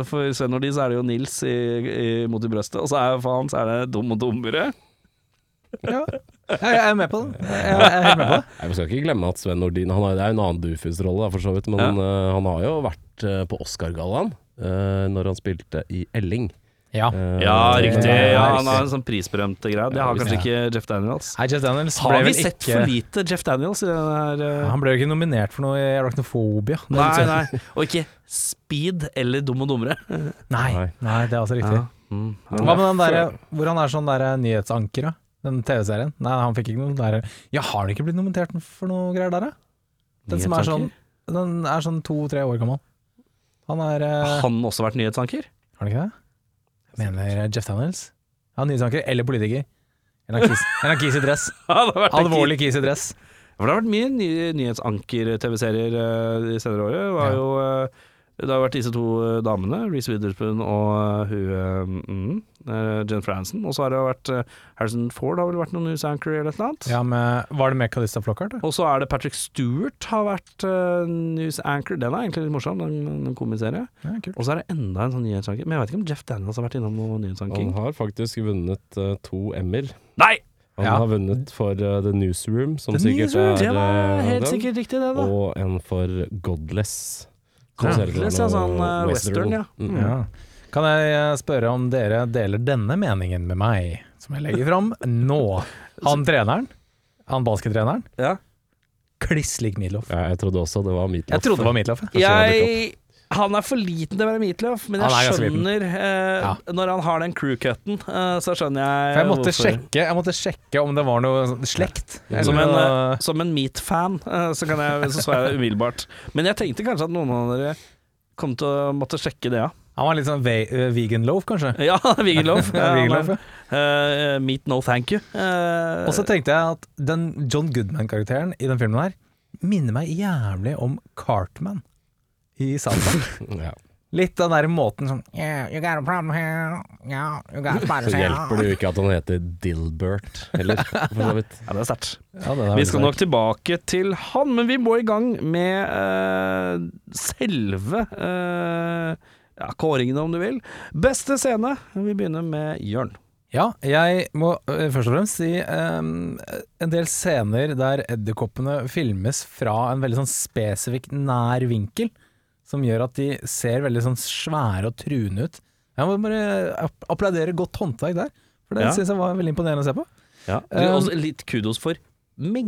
[SPEAKER 2] For Sven Nordin så er det jo Nils i, i Mot i brøstet, og så er, for han så er det Dum og dummere.
[SPEAKER 3] Ja. Jeg, jeg er med på det. Jeg, jeg er helt med på det.
[SPEAKER 1] Nei, Vi skal ikke glemme at Sven Nordin han har, Det er jo en annen Dufus-rolle, da, for så vidt, men
[SPEAKER 2] Ja.
[SPEAKER 1] eh, han har jo vært eh, på Oscar-gallaen eh, når han spilte i Elling.
[SPEAKER 3] Ja.
[SPEAKER 1] Eh,
[SPEAKER 2] Ah, Ja, riktig.
[SPEAKER 3] ja,
[SPEAKER 2] Ja, han
[SPEAKER 3] riktig.
[SPEAKER 2] har en sånn prisberømte greie. Det har
[SPEAKER 1] Ja,
[SPEAKER 2] kanskje ikke Jeff Daniels.
[SPEAKER 3] Nei, Jeff Daniels
[SPEAKER 2] Har
[SPEAKER 3] ble
[SPEAKER 2] vi
[SPEAKER 3] vel
[SPEAKER 2] sett
[SPEAKER 3] ikke
[SPEAKER 2] for lite Jeff Daniels i den her eh,
[SPEAKER 3] Han ble jo ikke nominert for noe i Arachnophobia. Det er litt
[SPEAKER 2] Nei,
[SPEAKER 3] synd.
[SPEAKER 2] nei. Og ikke Speed eller Dum og dummere.
[SPEAKER 3] nei.
[SPEAKER 1] Nei.
[SPEAKER 3] Nei, det er altså riktig.
[SPEAKER 2] Ja. Mm.
[SPEAKER 3] Hva med den derre hvor han er sånn derre nyhetsanker, da? Den TV-serien? Nei, han fikk ikke noe der. Ja, har han ikke blitt nominert for noe greier der, da? Den som er sånn Den er sånn to-tre år gammel. Han er eh,
[SPEAKER 2] Har han også vært [LAUGHS] nyhetsanker?
[SPEAKER 3] Har han ikke det? Jeg Mener Jeff Daniels? Ja, nyhetsanker eller politiker. En eller annen kis- en eller annen kis i
[SPEAKER 1] [LAUGHS]
[SPEAKER 3] dress.
[SPEAKER 2] Han har vært
[SPEAKER 3] Alvorlig kis i dress.
[SPEAKER 2] For det har vært mye ny nyhetsanker-TV-serier eh, de senere året. Det, var
[SPEAKER 3] Ja.
[SPEAKER 2] jo, eh, det har vært disse to eh, damene, Reece Witherspoon og eh, hun eh, mm, eh, Jen Franson. Og så har det vært eh, Harrison Ford har vel vært noen nyhetsanker eller et eller annet.
[SPEAKER 3] Ja, men eh, Var det med Calista Flockhart? da?
[SPEAKER 2] Og så er det Patrick Stewart har vært eh, newsanchor. Den er egentlig litt morsom, den, den komiserie.
[SPEAKER 3] Ja, kult.
[SPEAKER 2] Og så er det enda en sånn nyhetsanker. Men jeg vet ikke om Jeff Daniels har vært innom noe nyhetsanking.
[SPEAKER 1] Han har faktisk vunnet eh, to M-er.
[SPEAKER 2] Nei!
[SPEAKER 1] Han
[SPEAKER 3] Ja.
[SPEAKER 1] har vunnet for eh, The Newsroom, som
[SPEAKER 2] Det
[SPEAKER 1] sikkert er
[SPEAKER 2] var
[SPEAKER 1] eh,
[SPEAKER 2] helt
[SPEAKER 1] den,
[SPEAKER 2] sikkert riktig, det, da.
[SPEAKER 1] og en for Godless. som ser ut som
[SPEAKER 2] Godless, ja,
[SPEAKER 1] noe
[SPEAKER 2] sånn eh, western, ja.
[SPEAKER 1] Mm.
[SPEAKER 3] Ja. Kan jeg eh, spørre om dere deler denne meningen med meg, som jeg legger fram nå? Han treneren, han baskettreneren,
[SPEAKER 2] Ja.
[SPEAKER 3] kliss lik Midloff.
[SPEAKER 1] Ja, jeg trodde også det var Meatloaf.
[SPEAKER 3] Jeg trodde det var Midloff. ja.
[SPEAKER 2] Jeg Han er for liten til å være Meatloaf, men
[SPEAKER 3] Han er
[SPEAKER 2] jeg
[SPEAKER 3] ganske liten.
[SPEAKER 2] skjønner eh,
[SPEAKER 3] Ja.
[SPEAKER 2] Når han har den crew-cutten, eh, så skjønner jeg
[SPEAKER 3] For jeg måtte,
[SPEAKER 2] hvorfor.
[SPEAKER 3] sjekke, jeg måtte sjekke om det var noe sånn slekt.
[SPEAKER 2] Som
[SPEAKER 3] Eller
[SPEAKER 2] en,
[SPEAKER 3] noe-
[SPEAKER 2] eh, som en Meat-fan, eh, så, kan jeg- så så jeg det umiddelbart. Men jeg tenkte kanskje at noen av dere kom til å måtte sjekke det, ja.
[SPEAKER 3] han var litt sånn ve eh, vegan loaf, kanskje.
[SPEAKER 2] Ja, [LAUGHS]
[SPEAKER 3] [LAUGHS]
[SPEAKER 2] Vigerloaf.
[SPEAKER 3] Vegan loaf, ja.
[SPEAKER 2] eh, meat no thank you. Eh,
[SPEAKER 3] Og så tenkte jeg at den John Goodman-karakteren i den filmen her minner meg jævlig om Cartman i South Park.
[SPEAKER 1] Ja.
[SPEAKER 3] Litt den der måten sånn yeah, You got a problem here. Yeah, you got a problem
[SPEAKER 1] Så
[SPEAKER 3] here.
[SPEAKER 1] hjelper det jo ikke at han heter Dilbert heller, for så vidt.
[SPEAKER 2] ja, det er sterkt.
[SPEAKER 3] Ja, den er
[SPEAKER 2] Vi
[SPEAKER 3] veldig
[SPEAKER 2] skal
[SPEAKER 3] sterk.
[SPEAKER 2] nok tilbake til han, men vi må i gang med eh, selve eh, ja, kåringene, om du vil. Beste scene. Vi begynner med Jørn.
[SPEAKER 3] Ja, jeg må øh, først og fremst si ehm, en del scener der edderkoppene filmes fra en veldig sånn spesifikk nær vinkel, som gjør at de ser veldig sånn svære og truende ut. Jeg må bare app- applaudere godt håndverk der, for det
[SPEAKER 2] Ja.
[SPEAKER 3] synes jeg var veldig imponerende å se på.
[SPEAKER 2] Eh, også litt kudos for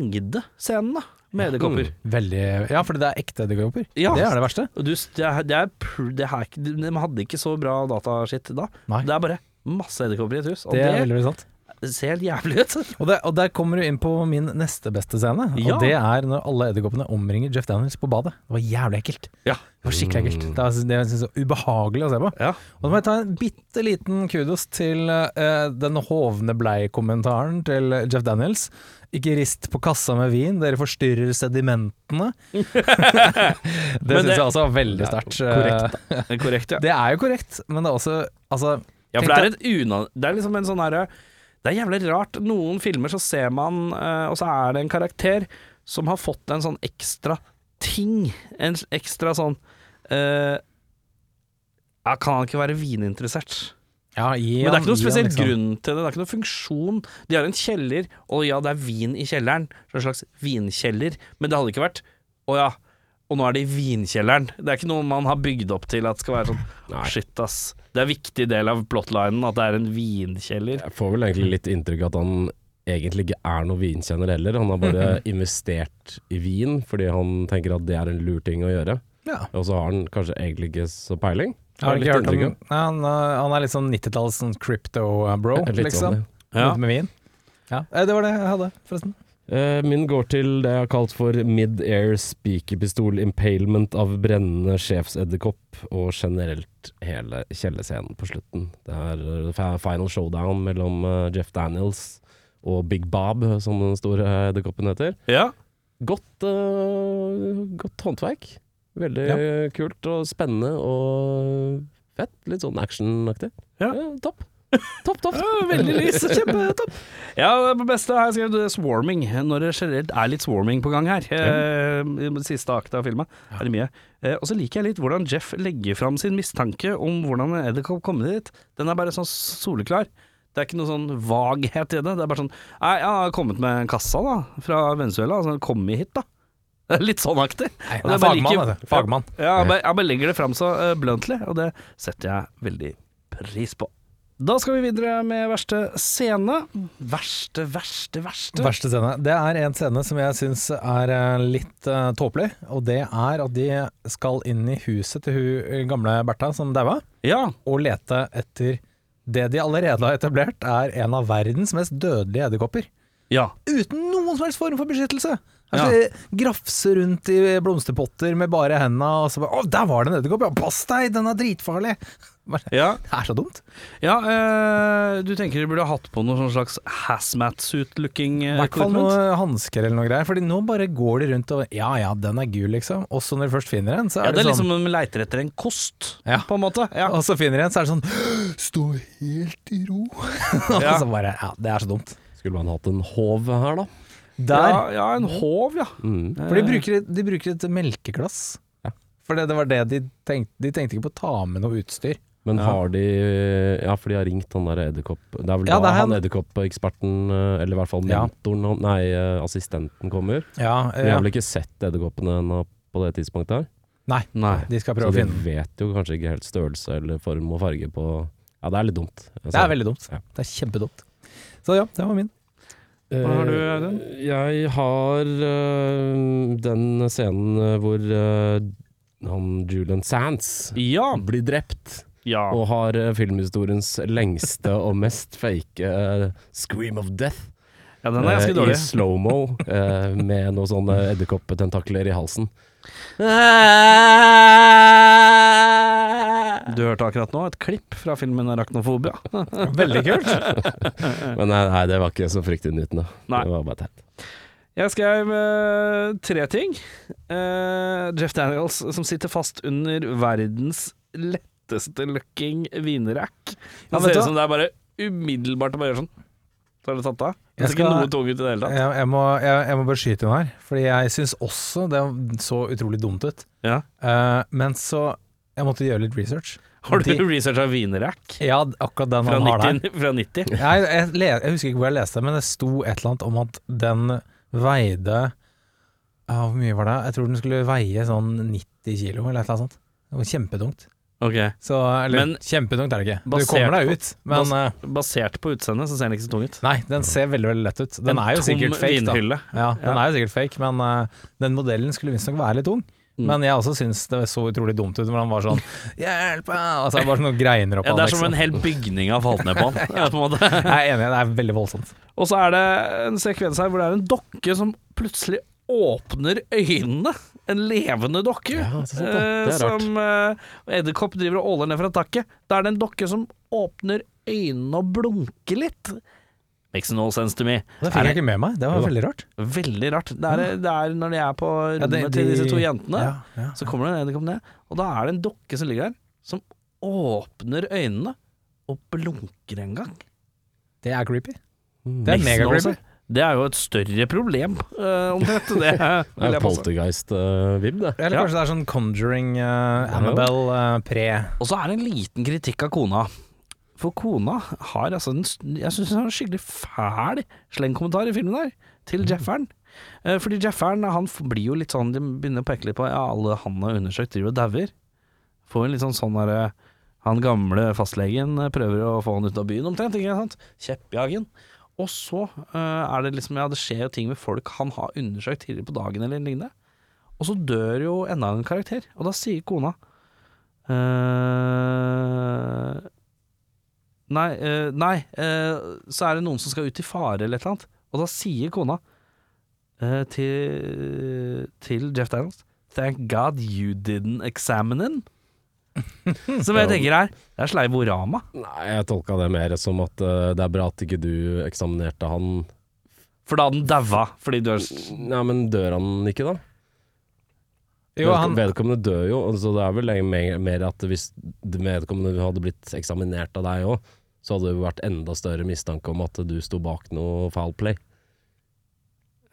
[SPEAKER 2] mengdescenen, da. Med edderkopper.
[SPEAKER 3] Veldig, ja, fordi det er ekte edderkopper.
[SPEAKER 2] Ja.
[SPEAKER 3] Det er det verste.
[SPEAKER 2] Og du, det er, det er, pr- det er, ikke- de hadde ikke så bra dataskitt da.
[SPEAKER 3] Nei.
[SPEAKER 2] Det er bare masse edderkopper i et hus. Og
[SPEAKER 3] Det
[SPEAKER 2] det,
[SPEAKER 3] er veldig, veldig sant.
[SPEAKER 2] det ser helt jævlig ut.
[SPEAKER 3] Og, der- og der kommer du inn på min neste beste scene.
[SPEAKER 2] Ja.
[SPEAKER 3] Og det er når alle edderkoppene omringer Jeff Daniels på badet. Det var jævlig ekkelt.
[SPEAKER 2] Ja.
[SPEAKER 3] Det var skikkelig ekkelt.
[SPEAKER 2] Mm.
[SPEAKER 3] Det er, det er så ubehagelig å se på.
[SPEAKER 2] Ja.
[SPEAKER 3] Og så må jeg ta en bitte liten kudos til eh, den hovne blei-kommentaren til Jeff Daniels. Ikke rist på kassa med vin, dere forstyrrer
[SPEAKER 2] [LAUGHS]
[SPEAKER 3] sedimentene. det
[SPEAKER 2] Men
[SPEAKER 3] syns
[SPEAKER 2] det-
[SPEAKER 3] jeg også var veldig sterkt. Eh,
[SPEAKER 2] korrekt, Det er korrekt, ja.
[SPEAKER 3] Det er jo korrekt, men det er også Altså,
[SPEAKER 2] Ja, for det
[SPEAKER 3] Tenk
[SPEAKER 2] er, et una, det er liksom en sånn herre Det er jævlig rart. Noen filmer så ser man, eh, og så er det en karakter som har fått en sånn ekstra ting. En s- ekstra sånn eh, ja, Kan han ikke være vininteressert?
[SPEAKER 3] ja,
[SPEAKER 2] Men
[SPEAKER 3] gi
[SPEAKER 2] det er
[SPEAKER 3] han-
[SPEAKER 2] ikke noen
[SPEAKER 3] gi han
[SPEAKER 2] spesiell
[SPEAKER 3] liksom-
[SPEAKER 2] grunn til det. Det er ikke noen funksjon. De har en kjeller, og ja, det er vin i kjelleren. Så en slags vinkjeller. Men det hadde ikke vært Å ja, og nå er det i vinkjelleren. Det er ikke noe man har bygd opp til at skal være sånn Shit, ass. Det er en viktig del av plottlinen at det er en vinkjeller.
[SPEAKER 1] Jeg får vel egentlig litt inntrykk av at han egentlig ikke er noen vinkjenner heller. Han har bare
[SPEAKER 3] Mhm.
[SPEAKER 1] investert i vin fordi han tenker at det er en lur ting å gjøre.
[SPEAKER 3] Ja.
[SPEAKER 1] Og så har han kanskje egentlig ikke så peiling.
[SPEAKER 3] Har du
[SPEAKER 1] Litt
[SPEAKER 3] ikke hørt om
[SPEAKER 1] inntrykk av.
[SPEAKER 3] Nei, han, uh, han er litt sånn 90-talls sånn crypto-bro,
[SPEAKER 1] Litt sånn,
[SPEAKER 3] liksom.
[SPEAKER 1] ja.
[SPEAKER 2] Ja.
[SPEAKER 3] Ute Med vin. Ja. Eh, Det var det jeg hadde, forresten.
[SPEAKER 1] Eh, Min går til det jeg har kalt for mid-air speakerpistol impalement av brennende sjefsedderkopp og generelt hele kjellerscenen på slutten. Det er eh, fa- final showdown mellom eh, Jeff Daniels og Big Bob, som den store edderkoppen heter.
[SPEAKER 2] Ja.
[SPEAKER 1] Godt, eh, godt håndverk. Veldig kult og spennende og fett. Litt sånn actionaktig.
[SPEAKER 2] Ja.
[SPEAKER 1] Eh, Topp. Topp,
[SPEAKER 3] [LAUGHS]
[SPEAKER 1] topp.
[SPEAKER 2] Veldig lys. Kjempetopp. [LAUGHS] Ja, det på beste har jeg skrevet eh, swarming, når det generelt er litt swarming på gang her. Eh, I den siste akt av filmen er det mye. Eh, og så liker jeg litt hvordan Jeff legger fram sin mistanke om hvordan en edderkopp kom dit. Den er bare sånn soleklar. Det er ikke noe sånn vaghet i det. Det er bare sånn Nei, han har kommet med kassa, da, fra Venezuela. Altså, kom hit, da. [LAUGHS] Det er Litt sånn aktig. Og
[SPEAKER 3] han er
[SPEAKER 2] jeg bare
[SPEAKER 3] fagmann,
[SPEAKER 2] liker-
[SPEAKER 3] vet du. Fagmann.
[SPEAKER 2] Ja, han bare, han bare legger det fram så eh, bluntly, og det setter jeg veldig pris på. Da skal vi videre med verste scene. Verste, verste, verste.
[SPEAKER 3] Verste scene. Det er en scene som jeg syns er eh, litt eh, tåpelig, og det er at de skal inn i huset til hun eh, gamle Bertha som daua,
[SPEAKER 2] Ja.
[SPEAKER 3] og lete etter det de allerede har etablert er en av verdens mest dødelige edderkopper.
[SPEAKER 2] ja.
[SPEAKER 3] Uten noen som helst form for beskyttelse!
[SPEAKER 2] Ja.
[SPEAKER 3] Altså, Grafse rundt i blomsterpotter med bare henda, og så bare Å, der var det en edderkopp! Ja, pass deg, den er dritfarlig! [LAUGHS] Bare,
[SPEAKER 2] Ja,
[SPEAKER 3] det er så dumt.
[SPEAKER 2] ja eh, du tenker de burde ha hatt på noe sånn slags hazmat-suit-looking eh,
[SPEAKER 3] I hvert fall noen hansker eller noe greier. Fordi nå bare går de rundt og Ja ja, den er gul, liksom. Og så når de først finner en, så er
[SPEAKER 2] Ja, det er
[SPEAKER 3] sånn
[SPEAKER 2] liksom om de leiter etter en kost,
[SPEAKER 3] Ja.
[SPEAKER 2] på en måte. Ja.
[SPEAKER 3] Og så finner de en, så er det sånn Stå helt i ro. [LAUGHS]
[SPEAKER 2] Ja.
[SPEAKER 3] og så bare Ja, det er så dumt.
[SPEAKER 1] Skulle man hatt en håv her, da?
[SPEAKER 3] Der.
[SPEAKER 2] Ja, ja, en håv, ja.
[SPEAKER 1] Mm.
[SPEAKER 3] For de bruker, et- de bruker et melkeglass. For det, det var det de tenkte De tenkte ikke på å ta med noe utstyr.
[SPEAKER 1] Men har de Ja, for de har ringt han der edderkopp Det er vel
[SPEAKER 3] Ja,
[SPEAKER 1] da
[SPEAKER 3] det er
[SPEAKER 1] han,
[SPEAKER 3] han-
[SPEAKER 1] edderkoppeksperten, eh, eller i hvert fall
[SPEAKER 3] Ja.
[SPEAKER 1] mentoren, han- nei, eh, assistenten kommer.
[SPEAKER 3] Ja,
[SPEAKER 1] De har vel ikke sett edderkoppene ennå på det tidspunktet her.
[SPEAKER 3] Nei,
[SPEAKER 2] Nei.
[SPEAKER 3] de skal
[SPEAKER 1] Så
[SPEAKER 3] prøve å
[SPEAKER 1] de
[SPEAKER 3] finne den.
[SPEAKER 1] vet jo kanskje ikke helt størrelse eller form og farge på Ja, det er litt dumt.
[SPEAKER 3] Det er veldig dumt.
[SPEAKER 1] Ja.
[SPEAKER 3] Det er kjempedumt. Så ja, det var min.
[SPEAKER 1] Hva
[SPEAKER 2] har du, Audun?
[SPEAKER 1] Eh, Jeg har eh, den scenen eh, hvor eh, han Julian Sands
[SPEAKER 2] Ja.
[SPEAKER 1] blir drept.
[SPEAKER 2] ja.
[SPEAKER 1] Og har eh, filmhistoriens lengste og mest fake eh, scream of death.
[SPEAKER 2] ja den er ganske
[SPEAKER 1] eh,
[SPEAKER 2] dårlig.
[SPEAKER 1] I [LAUGHS] slow-mo, eh, med noen sånne edderkoppetentakler i halsen.
[SPEAKER 2] Du hørte akkurat nå et klipp fra filmen 'Arachnofobia'.
[SPEAKER 3] Veldig kult.
[SPEAKER 1] Men nei, nei, det var ikke så fryktinngytende.
[SPEAKER 2] Nei.
[SPEAKER 1] Det var bare teit.
[SPEAKER 2] Jeg skrev eh, tre ting. Eh, Jeff Daniels som sitter fast under verdens letteste looking vinrack.
[SPEAKER 3] Ja,
[SPEAKER 2] Det
[SPEAKER 3] vet
[SPEAKER 2] ser
[SPEAKER 3] du hva?
[SPEAKER 2] ut som det er bare umiddelbart å bare gjøre sånn. Så er det tatt av. Det
[SPEAKER 3] Jeg
[SPEAKER 2] ser ikke
[SPEAKER 3] skal-
[SPEAKER 2] noe tung ut i det hele tatt.
[SPEAKER 3] Jeg, jeg, må, jeg, jeg må bare skyte inn her, Fordi jeg syns også det så utrolig dumt ut.
[SPEAKER 2] Ja.
[SPEAKER 3] Eh, men så Jeg måtte gjøre litt research.
[SPEAKER 2] Har du
[SPEAKER 3] De-
[SPEAKER 2] researcha vinrack
[SPEAKER 3] Ja, akkurat den
[SPEAKER 2] fra
[SPEAKER 3] han har der.
[SPEAKER 2] 90? [LAUGHS] Fra 90?
[SPEAKER 3] [LAUGHS] Nei, jeg, le, jeg husker ikke hvor jeg leste det, men det sto et eller annet om at den veide ja, Hvor mye var det? Jeg tror den skulle veie sånn 90 kilo eller et eller annet sånt. Det var kjempetungt.
[SPEAKER 2] Ok.
[SPEAKER 3] Så, eller
[SPEAKER 2] Men-
[SPEAKER 3] kjempetungt er det ikke. Du
[SPEAKER 2] Basert
[SPEAKER 3] kommer deg
[SPEAKER 2] på-
[SPEAKER 3] ut, men eh,
[SPEAKER 2] Basert på utseendet så ser den ikke så tung ut.
[SPEAKER 3] Nei, den ser veldig veldig lett ut. Den
[SPEAKER 2] En
[SPEAKER 3] er jo
[SPEAKER 2] tom
[SPEAKER 3] sikkert fake, da.
[SPEAKER 2] vinhylle.
[SPEAKER 3] Ja, den er jo sikkert fake, men eh, den modellen skulle visstnok være litt tung. Men jeg også syns det så utrolig dumt ut når han var sånn Hjelp! meg!» Altså, det var sånn noen greiner opp
[SPEAKER 2] Ja, det er
[SPEAKER 3] Alex.
[SPEAKER 2] som
[SPEAKER 3] [LAUGHS]
[SPEAKER 2] en hel bygning har falt ned på han. ja, på en måte.
[SPEAKER 3] Jeg er enig, det er veldig voldsomt.
[SPEAKER 2] Og så er det en sekvens her hvor det er en dokke som plutselig åpner øynene. En levende dokke.
[SPEAKER 1] Ja, det er sant da. Det
[SPEAKER 2] eh,
[SPEAKER 1] er
[SPEAKER 2] som eh, edderkopp driver og åler ned fra taket. Da er det en dokke som åpner øynene og blunker litt. Makes no sense to me.
[SPEAKER 3] Det fikk
[SPEAKER 2] Er
[SPEAKER 3] jeg ikke med meg. Det var veldig rart.
[SPEAKER 2] Veldig rart. Det er, det er når de er på rommet
[SPEAKER 3] Ja, det-
[SPEAKER 2] til
[SPEAKER 3] de-
[SPEAKER 2] disse to jentene,
[SPEAKER 3] ja, ja.
[SPEAKER 2] så kommer det en edderkopp ned, og da er det en dokke som ligger der, som åpner øynene og blunker en gang.
[SPEAKER 3] Det er creepy. Det
[SPEAKER 1] Mm.
[SPEAKER 3] er
[SPEAKER 2] Makes
[SPEAKER 3] mega
[SPEAKER 2] no
[SPEAKER 3] creepy.
[SPEAKER 2] sense. Det er jo et større problem, eh,
[SPEAKER 1] [LAUGHS]
[SPEAKER 2] omtrent. Det
[SPEAKER 1] Det
[SPEAKER 2] vil
[SPEAKER 1] er
[SPEAKER 2] jeg påstå.
[SPEAKER 1] poltergeist-vib, eh, det.
[SPEAKER 3] Eller
[SPEAKER 2] Ja.
[SPEAKER 3] kanskje det er sånn Conjuring, eh, Annabelle, eh, pre
[SPEAKER 2] Og så er det en liten kritikk av kona. For kona har altså en, Jeg syns hun har en skikkelig fæl slengkommentar i filmen der,
[SPEAKER 1] Mm.
[SPEAKER 2] til Jefferen. Eh, Fordi Jefferen han f- blir jo litt sånn De begynner å peke litt på Ja, alle han har undersøkt, driver og dauer. Får en litt sånn sånn derre Han gamle fastlegen eh, prøver å få han ut av byen omtrent, ikke sant? Kjeppjagen. Og så eh, er det liksom Ja, det skjer jo ting med folk han har undersøkt tidligere på dagen eller lignende. Og så dør jo enda en karakter, og da sier kona Eh, nei, eh, nei eh, så er det noen som skal ut i fare eller et eller annet. Og da sier kona eh, til, til Jeff Daniels Thank God you didn't examine him. Som jeg tenker er Det er sleivorama.
[SPEAKER 1] Nei, jeg tolka det mer som at eh, det er bra at ikke du eksaminerte han.
[SPEAKER 2] For da hadde den daua fordi du er
[SPEAKER 1] Nei, men dør han ikke, da?
[SPEAKER 3] Jo,
[SPEAKER 1] Vedko-
[SPEAKER 3] han,
[SPEAKER 1] Vedkommende dør jo, så det er vel egentlig mer- mer at hvis vedkommende hadde blitt eksaminert av deg òg, så hadde det jo vært enda større mistanke om at du sto bak noe foul play.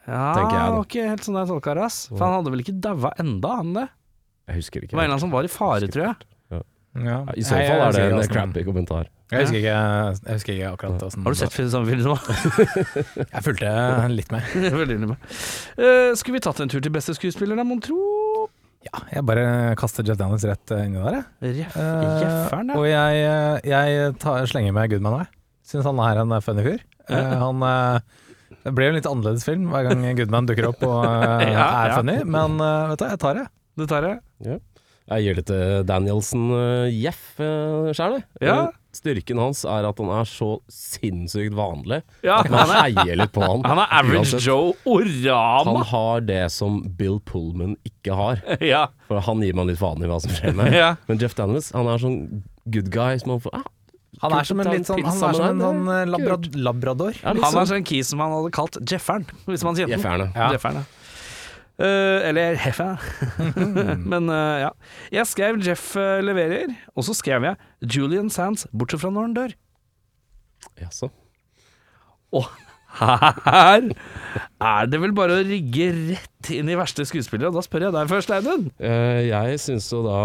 [SPEAKER 2] Ja,
[SPEAKER 1] Tenker jeg
[SPEAKER 2] det
[SPEAKER 1] da.
[SPEAKER 2] var ikke helt sånn jeg tolka det, ass. For han hadde vel ikke daua enda, han det?
[SPEAKER 1] Jeg husker
[SPEAKER 2] Det
[SPEAKER 1] ikke.
[SPEAKER 2] var en eller annen som var i fare, tror jeg.
[SPEAKER 3] ja.
[SPEAKER 1] I så
[SPEAKER 3] Nei, jeg husker
[SPEAKER 1] fall er det
[SPEAKER 3] ikke
[SPEAKER 1] en
[SPEAKER 2] altså-
[SPEAKER 3] hvordan-
[SPEAKER 1] crappy kommentar.
[SPEAKER 3] Jeg husker ikke, jeg husker ikke akkurat åssen
[SPEAKER 2] Har du sett sånne filmer
[SPEAKER 1] [LAUGHS]
[SPEAKER 2] nå?
[SPEAKER 3] Jeg fulgte litt med.
[SPEAKER 2] Veldig enig med. Eh, skulle vi tatt en tur til beste skuespiller, da, mon tro?
[SPEAKER 3] Ja, jeg bare kaster Jeff Daniels rett eh, inni der, jeg.
[SPEAKER 2] Jeff,
[SPEAKER 3] Eh,
[SPEAKER 2] Jefferen, ja.
[SPEAKER 3] og jeg, eh, jeg tar, slenger med Goodman òg. Syns han er en eh, funny fyr. Eh, han eh, Det blir jo en litt annerledes film hver gang Goodman dukker opp
[SPEAKER 2] [LAUGHS]
[SPEAKER 3] og eh,
[SPEAKER 2] Ja,
[SPEAKER 3] er
[SPEAKER 2] ja.
[SPEAKER 3] funny, men eh, vet du, jeg tar det.
[SPEAKER 2] Det tar jeg.
[SPEAKER 1] Jeg gir det til Danielsen uh, Jeff uh, sjæl, jeg.
[SPEAKER 2] Ja.
[SPEAKER 1] Eh, Styrken hans er at han er så sinnssykt vanlig.
[SPEAKER 2] Ja,
[SPEAKER 1] At man heier litt på han.
[SPEAKER 2] [LAUGHS] Han er Average
[SPEAKER 1] Uansett.
[SPEAKER 2] Joe
[SPEAKER 1] Han
[SPEAKER 2] Orama!
[SPEAKER 1] har det som Bill Pullman ikke har.
[SPEAKER 2] [LAUGHS] Ja.
[SPEAKER 1] For han gir man litt faen i hva som
[SPEAKER 3] [LAUGHS]
[SPEAKER 1] skjer med.
[SPEAKER 2] Ja.
[SPEAKER 1] Men Jeff Daniels, han er sånn good guy som man får ah,
[SPEAKER 3] Han er som en litt sånn, han er som en sånn eh, labra labrador.
[SPEAKER 1] ja,
[SPEAKER 2] Han er
[SPEAKER 1] liksom.
[SPEAKER 2] sånn kis som han hadde kalt Jefferen, hvis man kjente den.
[SPEAKER 1] Jefferne.
[SPEAKER 3] Ja.
[SPEAKER 2] Jefferen, ja. Eh, eller Heffa.
[SPEAKER 1] [LAUGHS]
[SPEAKER 2] Men eh, ja. Jeg skrev Jeff eh, leverer, og så skrev jeg Julian Sands, bortsett fra når han dør.
[SPEAKER 1] Jaså.
[SPEAKER 2] Og her er det vel bare å rigge rett inn i verste skuespiller, og da spør jeg deg først, Audun.
[SPEAKER 1] Eh, jeg syns jo da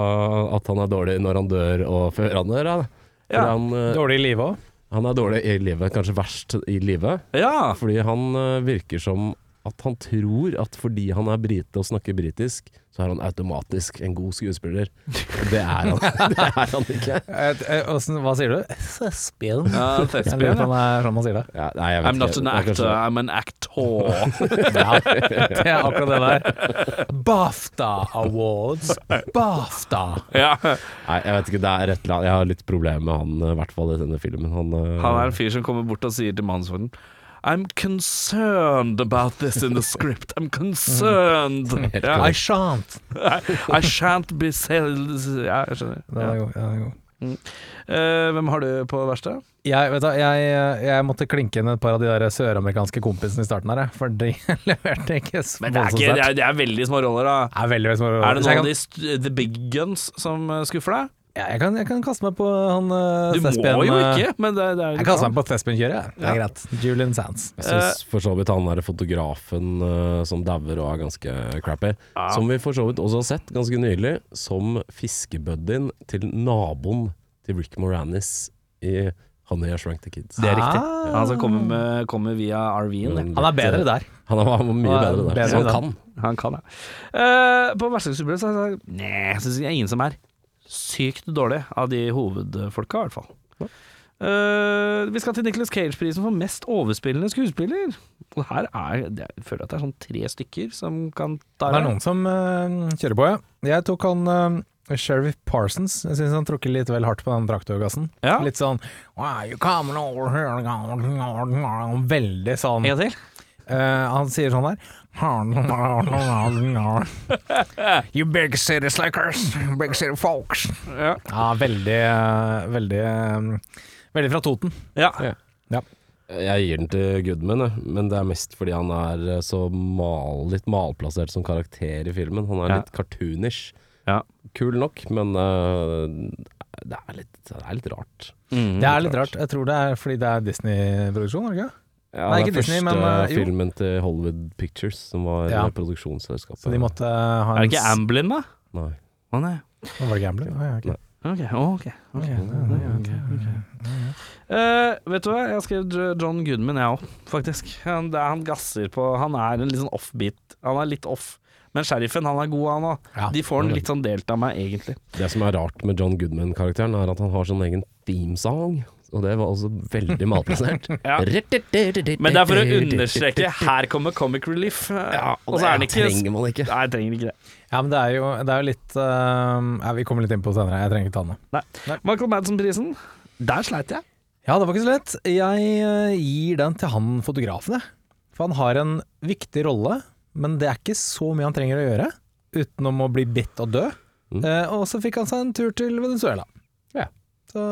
[SPEAKER 1] at han er dårlig når han dør og før han dør. da. For
[SPEAKER 2] Ja.
[SPEAKER 1] Han, eh,
[SPEAKER 3] Dårlig i livet òg.
[SPEAKER 1] han er dårlig i livet, kanskje verst i livet.
[SPEAKER 2] Ja.
[SPEAKER 1] Fordi han eh, virker som at han tror at fordi han er brite og snakker britisk, så er han automatisk en god skuespiller. Og det er han, [LAUGHS] det er han ikke.
[SPEAKER 3] Eh, Hva sier
[SPEAKER 2] [LAUGHS]
[SPEAKER 3] du? Thespian.
[SPEAKER 2] Ja,
[SPEAKER 3] Jeg lurer på
[SPEAKER 2] Thespian,
[SPEAKER 3] om det er sånn man sier
[SPEAKER 2] [LAUGHS]
[SPEAKER 3] det.
[SPEAKER 1] Ja, nei, jeg vet
[SPEAKER 2] I'm not an
[SPEAKER 1] ikke. Det er
[SPEAKER 2] actor,
[SPEAKER 1] kanskje-
[SPEAKER 2] I'm an actor. [LAUGHS]
[SPEAKER 3] Det er akkurat det der. BAFTA
[SPEAKER 2] [LAUGHS]
[SPEAKER 3] Awards. BAFTA.
[SPEAKER 2] ja.
[SPEAKER 1] Nei, jeg vet ikke, det er et eller annet Jeg har litt problemer med han, eh, i hvert fall i denne filmen. Han, eh,
[SPEAKER 2] Han er en fyr som kommer bort og sier til mannsvognen I'm concerned about this in the script. I'm concerned. [LAUGHS] Ja, I,
[SPEAKER 3] I shan't.
[SPEAKER 2] I shan't be sales Ja, jeg skjønner.
[SPEAKER 3] Den
[SPEAKER 2] Ja.
[SPEAKER 3] er god. Den er god.
[SPEAKER 2] Eh, hvem har du på verste?
[SPEAKER 3] Jeg, vet du, hva, jeg, jeg måtte klinke inn et par av de der søramerikanske kompisene i starten her, jeg, for de [LAUGHS] leverte ikke så
[SPEAKER 2] Men det er,
[SPEAKER 3] voldsomt
[SPEAKER 2] ikke, det,
[SPEAKER 3] sterkt.
[SPEAKER 2] er, det er veldig små roller, da.
[SPEAKER 3] Det er veldig, veldig små roller.
[SPEAKER 2] Er det
[SPEAKER 3] Så jeg
[SPEAKER 2] noen av
[SPEAKER 3] kan-
[SPEAKER 2] de st the big guns som eh, skuffer deg?
[SPEAKER 3] Ja, jeg, kan, jeg kan kaste meg på han uh,
[SPEAKER 2] Du må jo ikke, men det, det er
[SPEAKER 3] Jeg kaster meg på Thespen-kjøret, jeg. det er greit. Julian Sands.
[SPEAKER 1] Jeg syns for så vidt han derre fotografen eh, som dauer og er ganske crappy, som vi for så vidt også har sett ganske nylig, som fiskebuddyen til naboen til Rick Moranis i Honey I Shrunk the Kids.
[SPEAKER 2] Det er riktig.
[SPEAKER 3] Ah.
[SPEAKER 2] Han som kommer, med, kommer via RV-en.
[SPEAKER 1] Men
[SPEAKER 3] Han er
[SPEAKER 1] litt,
[SPEAKER 3] bedre
[SPEAKER 1] eh,
[SPEAKER 3] der.
[SPEAKER 1] Han er, han er mye
[SPEAKER 3] Han er
[SPEAKER 1] bedre der.
[SPEAKER 3] bedre
[SPEAKER 1] så han
[SPEAKER 3] der.
[SPEAKER 1] kan.
[SPEAKER 2] Han kan det. Eh, på vertshuset så har jeg sagt Nei, jeg syns det er ingen som er sykt dårlig av de hovedfolka, i hvert fall. Eh, vi skal til Nicholas Cage-prisen for mest overspillende skuespiller. Og her er det- Jeg føler at det er sånn tre stykker som kan ta
[SPEAKER 3] Det er noen som eh, kjører på, ja. Jeg tok han eh, Sheriff Parsons. Jeg syns han tråkker litt vel hardt på den traktorgassen.
[SPEAKER 2] Ja.
[SPEAKER 3] Litt sånn wow, you coming over here?» Veldig sånn.
[SPEAKER 2] En gang til.
[SPEAKER 3] Eh, han sier sånn der
[SPEAKER 2] [LAUGHS]
[SPEAKER 3] You big city slickers, big city folks.
[SPEAKER 2] Ja.
[SPEAKER 3] Ja, veldig, eh, veldig eh, Veldig fra Toten.
[SPEAKER 2] ja.
[SPEAKER 1] Jeg gir den til Goodman, jeg, men det er mest fordi han er eh, så mal, litt malplassert som karakter i filmen. Han er
[SPEAKER 2] Ja.
[SPEAKER 1] litt cartoonish.
[SPEAKER 2] Ja.
[SPEAKER 1] Kul nok, men eh, det, er litt, det er litt rart.
[SPEAKER 2] Mm.
[SPEAKER 3] Det er litt rart. Jeg tror det er fordi det er Disney-produksjon, er det ikke?
[SPEAKER 1] Ja,
[SPEAKER 3] Nei,
[SPEAKER 1] det er
[SPEAKER 3] ikke Disney,
[SPEAKER 1] første
[SPEAKER 3] men, eh, jo.
[SPEAKER 1] filmen til Hollywood Pictures, som var
[SPEAKER 3] Ja.
[SPEAKER 1] eh, produksjonsselskapet.
[SPEAKER 3] Så de måtte eh, ha
[SPEAKER 2] Er det ikke
[SPEAKER 3] s-
[SPEAKER 2] Amblin, da?
[SPEAKER 1] Nei.
[SPEAKER 2] Å nei.
[SPEAKER 3] Var det Gambler? Nei, ok.
[SPEAKER 2] Ok, å, ok. ok. Eh, vet du hva, jeg skrev Jo- John Goodman, jeg òg, faktisk. Han, det, er- han gasser på Han er en litt sånn offbeat. Han er litt off. Men sheriffen, han er god, han òg.
[SPEAKER 3] Ja.
[SPEAKER 2] De får han litt sånn delt av meg, egentlig.
[SPEAKER 1] Det som er rart med John Goodman-karakteren, er at han har sånn egen themesang. Og det var også
[SPEAKER 2] [LAUGHS]
[SPEAKER 1] veldig malplassert.
[SPEAKER 2] Ja. Men det er for å understreke her kommer comic
[SPEAKER 3] [LAUGHS]
[SPEAKER 2] relief.
[SPEAKER 1] Ja,
[SPEAKER 2] og så er han
[SPEAKER 1] det
[SPEAKER 2] ikke
[SPEAKER 1] trenger man ikke.
[SPEAKER 2] Nei, jeg trenger ikke det.
[SPEAKER 3] Ja, men det er jo, det er jo litt eh, ja, Vi kommer litt inn på det senere. Jeg trenger ikke ta den nå.
[SPEAKER 2] Nei. Michael Madsen-prisen, der sleit jeg.
[SPEAKER 3] Ja, det var ikke så lett. Jeg eh, gir den til han fotografen, jeg. For han har en viktig rolle, men det er ikke så mye han trenger å gjøre. Utenom å bli bitt og dø.
[SPEAKER 1] Mm.
[SPEAKER 3] Eh, og så fikk han seg en tur til Venezuela.
[SPEAKER 1] Ja.
[SPEAKER 3] Så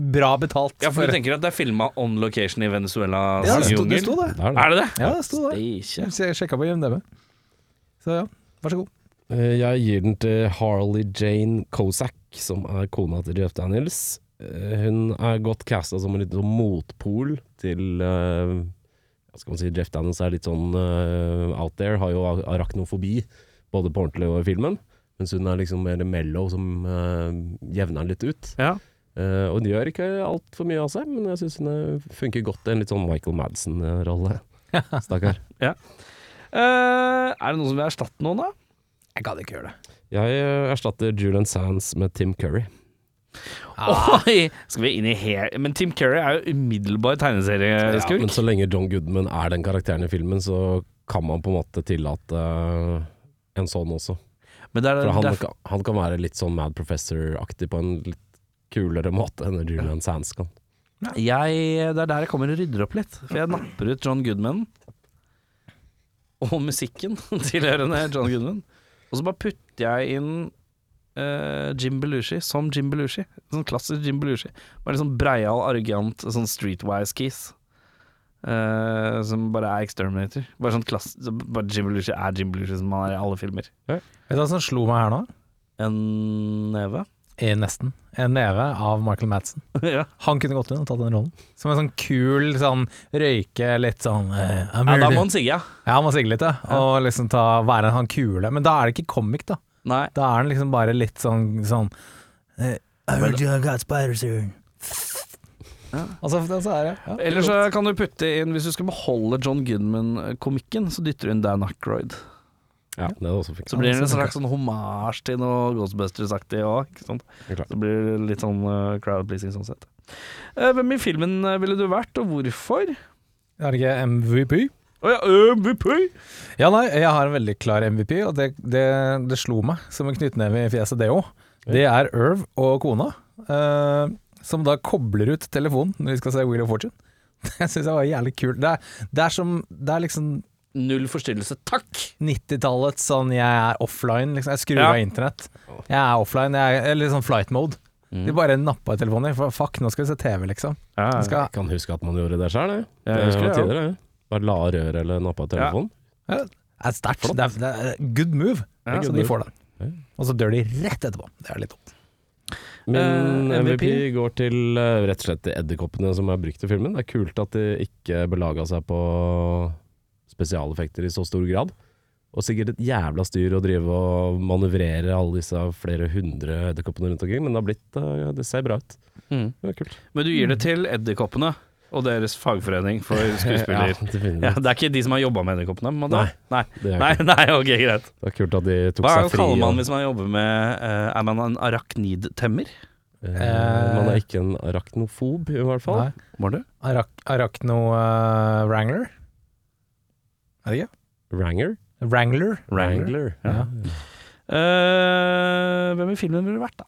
[SPEAKER 3] bra betalt.
[SPEAKER 2] Ja, for du tenker at det er filma on location i Venezuela?
[SPEAKER 3] ja, det sto, det sto det.
[SPEAKER 1] Det er det.
[SPEAKER 2] Er det det?
[SPEAKER 3] Ja, det sto det.
[SPEAKER 2] Ikke.
[SPEAKER 3] Jeg sjekka på IMDb. Så ja, vær så god.
[SPEAKER 1] Eh, Jeg gir den til Harley Jane Kozak, som er kona til Jeff Daniels. Eh, Hun er godt casta som en liten sånn motpol til eh, Hva skal man si, Jeff Daniels er litt sånn eh, out there, har jo ar- arachnofobi, både på ordentlig og i filmen. Mens hun er liksom mer mellow, som eh, jevner den litt ut.
[SPEAKER 2] Ja.
[SPEAKER 1] Eh, og hun gjør ikke altfor mye av seg, men jeg syns hun eh, funker godt i en litt sånn Michael Madsen-rolle. Stakkar.
[SPEAKER 2] Eh, er det noen som vil erstatte noen, da?
[SPEAKER 3] Jeg gadd ikke gjøre det.
[SPEAKER 1] Jeg eh, erstatter Julian Sands med Tim Curry. Ah.
[SPEAKER 2] Oi! Skal vi inn i her Men Tim Curry er jo umiddelbar tegneserieskurk.
[SPEAKER 1] Men så lenge John Goodman er den karakteren i filmen, så kan man på en måte tillate eh, en sånn også.
[SPEAKER 2] men det er,
[SPEAKER 1] For han,
[SPEAKER 2] det er,
[SPEAKER 1] kan- han kan være litt sånn Mad Professor-aktig på en litt kulere måte enn Julian Sands kan.
[SPEAKER 2] jeg, det er der jeg kommer og rydder opp litt. For jeg napper ut John Goodman og musikken [LAUGHS] tilhørende John Goodman. Og så bare putter jeg inn eh, Jim Belushi som Jim Belushi. Sånn klassisk Jim Belushi. Bare litt sånn breial, arrogant, sånn streetwise keys. Eh, som bare er exterminator. Bare sånn klass, så bare Jim Belushi er Jim Belushi som han er i alle filmer.
[SPEAKER 3] Vet du hva som slo meg her nå?
[SPEAKER 2] En neve.
[SPEAKER 3] Eh, nesten. En neve av Michael Madsen.
[SPEAKER 2] [LAUGHS] ja.
[SPEAKER 3] Han kunne gått inn og tatt den rollen. Som en sånn kul sånn røyke, litt sånn eh,
[SPEAKER 2] Ja,
[SPEAKER 3] I'm
[SPEAKER 2] da
[SPEAKER 3] really-
[SPEAKER 2] må han sigge. ja.
[SPEAKER 3] Ja, han må sigle litt, ja. Og liksom ta, være han kule. Men da er det ikke comic, da.
[SPEAKER 2] Nei.
[SPEAKER 3] Da er han liksom bare litt sånn sånn eh, I heard you got spiders here. Altså, det- så er det ja.
[SPEAKER 2] Eller så kan du putte inn, hvis du skal beholde John Goodman-komikken, så dytter du inn Dan Ackroyd.
[SPEAKER 1] Ja, det er også fint.
[SPEAKER 2] Så blir det en slags sånn hommage til noe Ghostbusters-aktig òg.
[SPEAKER 1] Det er klart.
[SPEAKER 2] Så blir det litt sånn uh, crowd pleasing sånn sett. Eh, hvem i filmen eh, ville du vært, og hvorfor?
[SPEAKER 3] Er det ikke MVP?
[SPEAKER 2] Å ja, eh, MVP!
[SPEAKER 3] Ja, nei, jeg har en veldig klar MVP, og det, det, det slo meg som en knyttneve i fjeset, det òg. Det er Irv og kona, eh, som da kobler ut telefonen når de skal se Wheel of Fortune. [LAUGHS] Det syns jeg var jævlig kult. Det er, det er, som, det er liksom
[SPEAKER 2] Null forstyrrelse, takk!
[SPEAKER 3] 90-tallets sånn jeg er offline, liksom. Jeg skrur
[SPEAKER 2] Ja.
[SPEAKER 3] av internett. Jeg er offline, jeg er eller sånn flight mode. De bare nappa i telefonen. For fuck, nå skal vi se TV, liksom.
[SPEAKER 2] Mm. Ja,
[SPEAKER 3] Nå
[SPEAKER 1] Jeg
[SPEAKER 3] skal,
[SPEAKER 1] kan huske at man gjorde det sjøl, jeg.
[SPEAKER 2] Ja, jeg husker
[SPEAKER 1] var
[SPEAKER 2] det, ja.
[SPEAKER 1] tidligere, jeg. Bare la av røret eller nappa telefonen.
[SPEAKER 3] det er sterkt. Det er, det er good move.
[SPEAKER 2] Ja,
[SPEAKER 3] så
[SPEAKER 1] good
[SPEAKER 3] de
[SPEAKER 1] move.
[SPEAKER 3] får den. Og så dør de rett etterpå. Det er litt dumt.
[SPEAKER 1] Min
[SPEAKER 2] Eh,
[SPEAKER 1] MVP
[SPEAKER 2] MVP?
[SPEAKER 1] går til eh, rett og slett de edderkoppene som er brukt i filmen. Det er kult at de ikke belaga seg på spesialeffekter i så stor grad. Og sikkert et jævla styr å drive og manøvrere alle disse flere hundre edderkoppene rundt omkring, men det har blitt eh, ja, Det ser bra ut.
[SPEAKER 2] Mm.
[SPEAKER 1] Det er kult.
[SPEAKER 2] Men du gir det til Edderkoppene og deres fagforening for
[SPEAKER 1] [LAUGHS] Ja,
[SPEAKER 2] skuespiller.
[SPEAKER 1] definitivt.
[SPEAKER 2] Ja, det er ikke de som har jobba med Edderkoppene? på en måte?
[SPEAKER 1] Nei.
[SPEAKER 2] Nei.
[SPEAKER 1] Det, er
[SPEAKER 2] Nei,
[SPEAKER 1] kult.
[SPEAKER 2] nei, ok, greit.
[SPEAKER 1] det er kult at de tok
[SPEAKER 2] Hva
[SPEAKER 1] seg fri.
[SPEAKER 2] kaller man
[SPEAKER 1] og-
[SPEAKER 2] hvis man jobber med eh, Er man en arachnid-temmer?
[SPEAKER 1] Eh, man er ikke en arachnofob, i hvert fall.
[SPEAKER 3] Nei.
[SPEAKER 6] Var du?
[SPEAKER 3] Arak Arachno eh, Wrangler? Er det ikke?
[SPEAKER 1] Wranger?
[SPEAKER 3] Wrangler?
[SPEAKER 1] Wrangler.
[SPEAKER 3] Ja.
[SPEAKER 2] Eh, hvem i filmen ville du vært, da?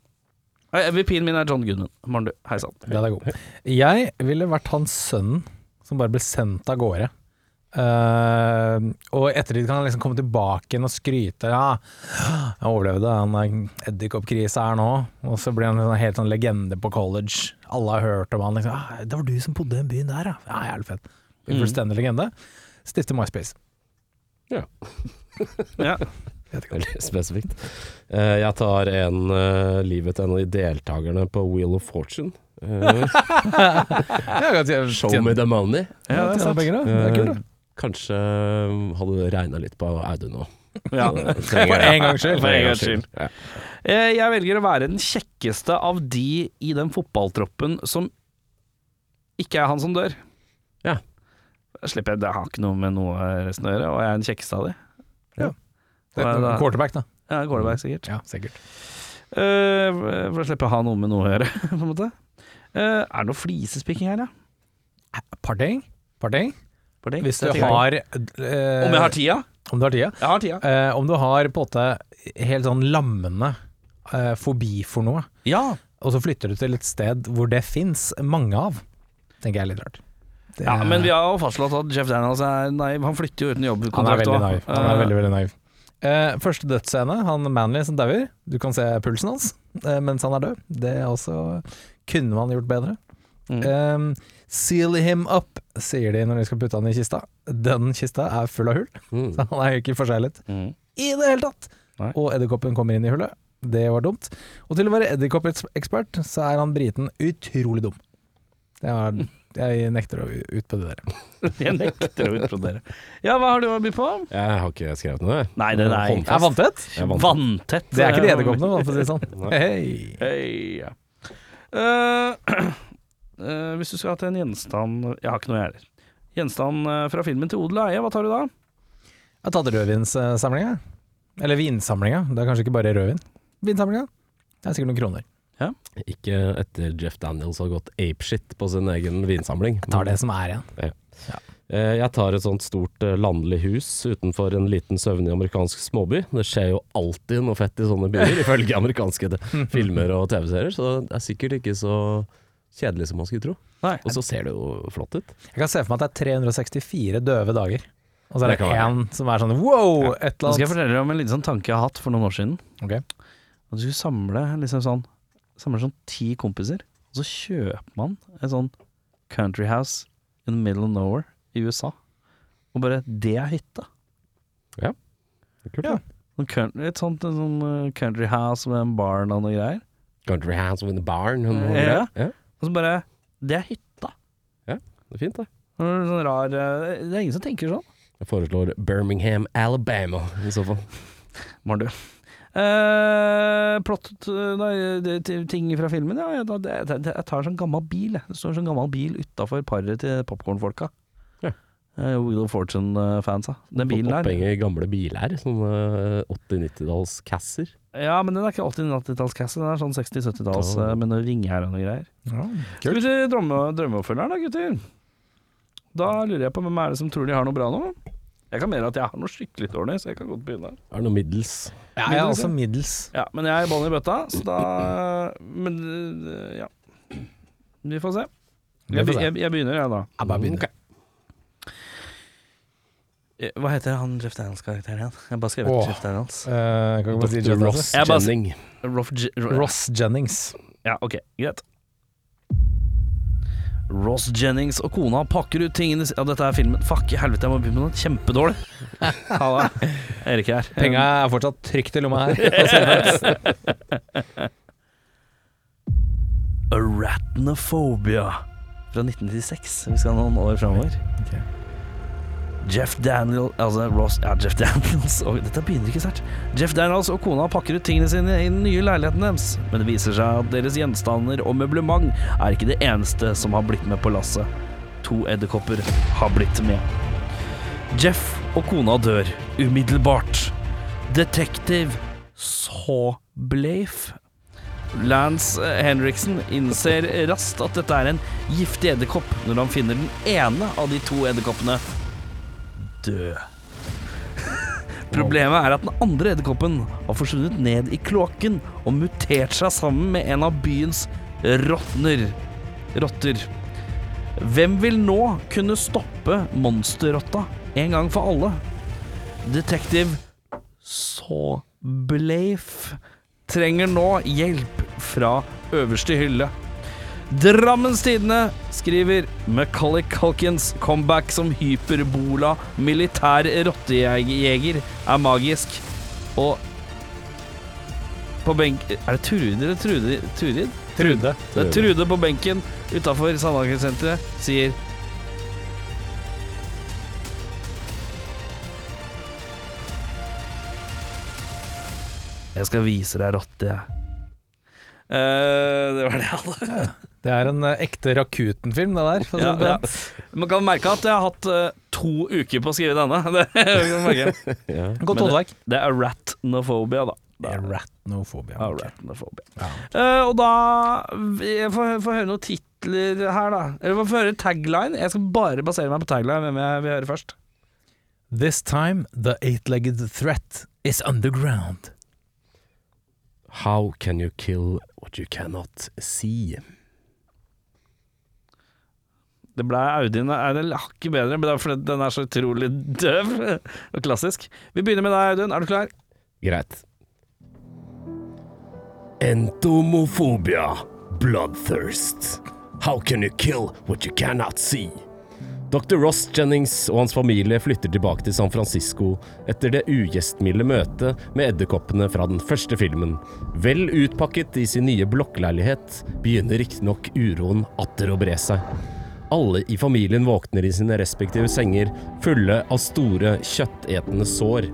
[SPEAKER 2] Nei, MVP-en min er John Goodman. Morn, du. Hei sann.
[SPEAKER 3] Den er god. Jeg ville vært han sønnen som bare ble sendt av gårde. Eh, og i ettertid kan han liksom komme tilbake igjen og skryte. Ja, 'Jeg overlevde den edderkoppkrisa her nå.' Og så blir han en sånn helt sånn legende på college. Alle har hørt om han. Liksom, ah, 'Det var du som bodde i den byen der, ja.' ja jævlig fett. En Fullstendig legende. Stifte MySpace.
[SPEAKER 2] Ja.
[SPEAKER 1] Veldig spesifikt. Eh, jeg tar en eh, livet til en av de deltakerne på Wheel of Fortune.
[SPEAKER 3] [LAUGHS]
[SPEAKER 1] Eh, show me the money.
[SPEAKER 3] Ja, det er sant. Penger, da. Det er kult, da.
[SPEAKER 1] Eh, kanskje eh, hadde regna litt på Audun
[SPEAKER 3] [LAUGHS]
[SPEAKER 1] nå.
[SPEAKER 2] Ja.
[SPEAKER 1] [LAUGHS] For
[SPEAKER 3] en gangs skyld.
[SPEAKER 2] For en gangs skyld. Eh, Jeg velger å være den kjekkeste av de i den fotballtroppen som ikke er han som dør.
[SPEAKER 1] Ja.
[SPEAKER 2] Da Slipper jeg, Det har ikke noe med noe resten å gjøre, og jeg er den kjekkeste av de.
[SPEAKER 3] Det er
[SPEAKER 2] Nei, da-
[SPEAKER 3] Quarterback, da.
[SPEAKER 2] Ja, går det bare, sikkert.
[SPEAKER 3] Ja, sikkert.
[SPEAKER 2] Eh, for da slipper jeg å ha noe med noe å gjøre, [LAUGHS] på en måte. Eh, er det noe flisespikking her, ja?
[SPEAKER 3] Parting? Parting?
[SPEAKER 2] For det-
[SPEAKER 3] Eh, Hvis du
[SPEAKER 2] det tenker jeg.
[SPEAKER 3] har eh,
[SPEAKER 2] Om jeg har tida?
[SPEAKER 3] Om du har tida?
[SPEAKER 2] Jeg har tida.
[SPEAKER 3] Eh, om du har på en måte helt sånn lammende eh, fobi for noe,
[SPEAKER 2] Ja.
[SPEAKER 3] og så flytter du til et sted hvor det fins mange av, tenker jeg er litt rart. Det-
[SPEAKER 2] ja, men vi har jo fastslått at Jeff Daniels er naiv. Han flytter jo uten
[SPEAKER 3] han er
[SPEAKER 2] jobbkontrakt.
[SPEAKER 3] veldig
[SPEAKER 2] også.
[SPEAKER 3] naiv. Han er
[SPEAKER 2] Eh,
[SPEAKER 3] veldig, veldig naiv. Eh, første dødsscene, han Manley som dauer. Du kan se pulsen hans eh, mens han er død. Det er også kunne man gjort bedre.
[SPEAKER 2] Mm.
[SPEAKER 3] Eh, seal him up, sier de når de skal putte han i kista. Den kista er full av hull,
[SPEAKER 1] Mm.
[SPEAKER 3] så han er jo ikke forseglet.
[SPEAKER 2] [LAUGHS] Mm.
[SPEAKER 3] i det hele tatt.
[SPEAKER 2] Nei.
[SPEAKER 3] Og edderkoppen kommer inn i hullet. Det var dumt. Og til å være edderkoppekspert, så er han briten utrolig dum. Det er, jeg nekter å utpå det der.
[SPEAKER 2] [LAUGHS] Jeg nekter å utbrodere. Ja, hva har du å by på?
[SPEAKER 1] Jeg har ikke skrevet noe, jeg.
[SPEAKER 2] Nei, det er
[SPEAKER 1] Håndfast.
[SPEAKER 3] Er vanntett?
[SPEAKER 1] Jeg vant.
[SPEAKER 2] Vanntett.
[SPEAKER 3] Det er ikke de edderkoppene, for å si det sånn.
[SPEAKER 1] [LAUGHS] Nei.
[SPEAKER 3] Hei.
[SPEAKER 2] Hei, ja. Eh, [CLEARS THROAT] eh, hvis du skulle hatt en gjenstand Jeg har ikke noe, jeg heller. Gjenstand eh, fra filmen til odel og eie, hva tar du da?
[SPEAKER 3] Jeg har tatt rødvinssamlinga. Eller vinsamlinga. Det er kanskje ikke bare rødvin. Vinsamlinga. Det er sikkert noen kroner.
[SPEAKER 1] Ikke etter Jeff Daniels har gått apeshit på sin egen vinsamling.
[SPEAKER 3] Jeg tar det som er igjen.
[SPEAKER 1] Eh, Jeg tar et sånt stort eh, landlig hus utenfor en liten søvnig amerikansk småby. Det skjer jo alltid noe fett i sånne
[SPEAKER 3] [LAUGHS]
[SPEAKER 1] byer, ifølge amerikanske [LAUGHS] de- filmer og TV-serier. Så det er sikkert ikke så kjedelig som man skulle tro.
[SPEAKER 2] Nei.
[SPEAKER 1] Og så ser det jo flott ut.
[SPEAKER 3] Jeg kan se for meg at det er 364 døve dager. Og så er det
[SPEAKER 1] Det kan være.
[SPEAKER 3] én som er sånn wow, et
[SPEAKER 2] Nå skal jeg
[SPEAKER 3] eller annet.
[SPEAKER 2] fortelle deg om en liten sånn tanke jeg har hatt for noen år siden.
[SPEAKER 3] Ok.
[SPEAKER 2] At du skulle samle liksom sånn Samle sånn ti kompiser, og så kjøper man en sånn country house in the middle of nowhere i USA. Og bare Det er hytta.
[SPEAKER 1] Kult,
[SPEAKER 3] Ja.
[SPEAKER 1] da.
[SPEAKER 2] Sånn coun- Et sånt en sånn eh, country house med en barn og noe greier.
[SPEAKER 1] Country hands with a barn. Og noe
[SPEAKER 2] Ja.
[SPEAKER 1] greier. ja,
[SPEAKER 2] Og så bare Det er hytta.
[SPEAKER 1] det er fint, det.
[SPEAKER 2] Det er Sånn rar eh, Det er ingen som tenker sånn.
[SPEAKER 1] Jeg foreslår Birmingham, Alabama, i så fall.
[SPEAKER 2] Var du. Eh, plottet eh, nei, det- det- ting fra filmen, ja. Jeg, det, det, det, jeg tar sånn gammel bil. Jeg. Det står sånn gammel bil utafor paret til popkornfolka.
[SPEAKER 1] Ja.
[SPEAKER 2] Eh, Wheel of Fortune-fansa. Den bilen der.
[SPEAKER 1] Opphenger i gamle biler. Sånne eh, 80-90-talls Casser.
[SPEAKER 2] Ja, men den er ikke 80-90-tallskasse, den er sånn 60-70-talls
[SPEAKER 1] Ja.
[SPEAKER 2] eh, med noen ringer og noe greier.
[SPEAKER 3] Ja.
[SPEAKER 2] Skal vi til drømme, drømmeoppfølgeren da, gutter? Da lurer jeg på hvem er det som tror de har noe bra nå? Jeg kan mene at jeg har noe skikkelig dårlig, så jeg kan godt begynne.
[SPEAKER 1] Er det noe middels?
[SPEAKER 3] Ja, jeg er altså middels.
[SPEAKER 2] Ja, men jeg er i bånn i bøtta, så da Men øh, ja. Vi får se. Jeg, be- jeg, jeg begynner, jeg, da.
[SPEAKER 3] Jeg bare begynner.
[SPEAKER 2] Eh, Hva heter han Jeff Daniels-karakteren igjen? Jeg har bare skrevet
[SPEAKER 3] Åh.
[SPEAKER 2] Jeff Daniels.
[SPEAKER 3] Eh, kan ikke bare si
[SPEAKER 1] Dr.
[SPEAKER 3] Jedi,
[SPEAKER 1] Ross
[SPEAKER 2] Jeg bare-
[SPEAKER 1] Jennings.
[SPEAKER 2] Roff J
[SPEAKER 3] altså. Ross Jennings.
[SPEAKER 2] Ja, ok, greit. Ross Jennings og kona pakker ut tingene si- Ja, dette er filmen. Fuck, i helvete, jeg må begynne med noe [LAUGHS] kjempedårlig. Ha det. Erik her.
[SPEAKER 3] Penga er fortsatt trygt i lomma [LAUGHS] her.
[SPEAKER 2] Arachnophobia fra 1996. Vi skal noen år framover.
[SPEAKER 3] Ok.
[SPEAKER 2] Jeff Daniel Altså Ross Ja, Jeff Daniels [LAUGHS] og, Dette begynner ikke sterkt. Jeff Daniels og kona pakker ut tingene sine i den nye leiligheten deres, men det viser seg at deres gjenstander og møblement er ikke det eneste som har blitt med på lasset. To edderkopper har blitt med. Jeff og kona dør umiddelbart. Detektiv Sawblafe Lance Henriksen innser raskt at dette er en giftig edderkopp når han finner den ene av de to edderkoppene død. Problemet er at den andre edderkoppen har forsvunnet ned i kloakken og mutert seg sammen med en av byens rottner. rotter. Hvem vil nå kunne stoppe monsterrotta en gang for alle? Detektiv Sawblafe trenger nå hjelp fra øverste hylle. Drammens Tidende skriver Macaulay Culkins comeback som hyperbola militær rottejeger er magisk. Og på benk... Er det Turid eller Trude, Turid?
[SPEAKER 3] Trude.
[SPEAKER 2] Det er Trude på benken utafor Sandaker-senteret sier Jeg skal vise deg rotte, jeg. Eh, det var det [LAUGHS] jeg hadde.
[SPEAKER 3] Det er en eh, ekte Rakuten-film, det der. for å si
[SPEAKER 2] Ja,
[SPEAKER 3] det
[SPEAKER 2] ja.
[SPEAKER 3] pent.
[SPEAKER 2] Man kan merke at jeg har hatt eh, to uker på å skrive denne. [LAUGHS] Det, kan man merke.
[SPEAKER 1] Ja.
[SPEAKER 3] Godt
[SPEAKER 2] Men
[SPEAKER 3] håndverk.
[SPEAKER 2] det er ratnophobia, da. Det er
[SPEAKER 3] Ratnofobia.
[SPEAKER 2] ja,
[SPEAKER 3] ok.
[SPEAKER 2] ratnophobia.
[SPEAKER 3] Ja.
[SPEAKER 2] Eh, og da Jeg får, får høre noen titler her, da. Eller man får høre tagline. Jeg skal bare basere meg på tagline, hvem jeg vil høre først.
[SPEAKER 3] This time the eight-legged threat is underground.
[SPEAKER 1] How can you kill what you cannot see?
[SPEAKER 2] Det ble Audien er det hakket bedre, men det er fordi den er så utrolig døv og klassisk. Vi begynner med deg, Audun. Er du klar?
[SPEAKER 1] Greit. Entomophobia, bloodthirst. How can you kill what you cannot see? Dr. Ross Jennings og hans familie flytter tilbake til San Francisco etter det ugjestmilde møtet med edderkoppene fra den første filmen. Vel utpakket i sin nye blokkleilighet begynner riktignok uroen atter å bre seg. Alle i familien våkner i sine respektive senger, fulle av store, kjøttetende sår.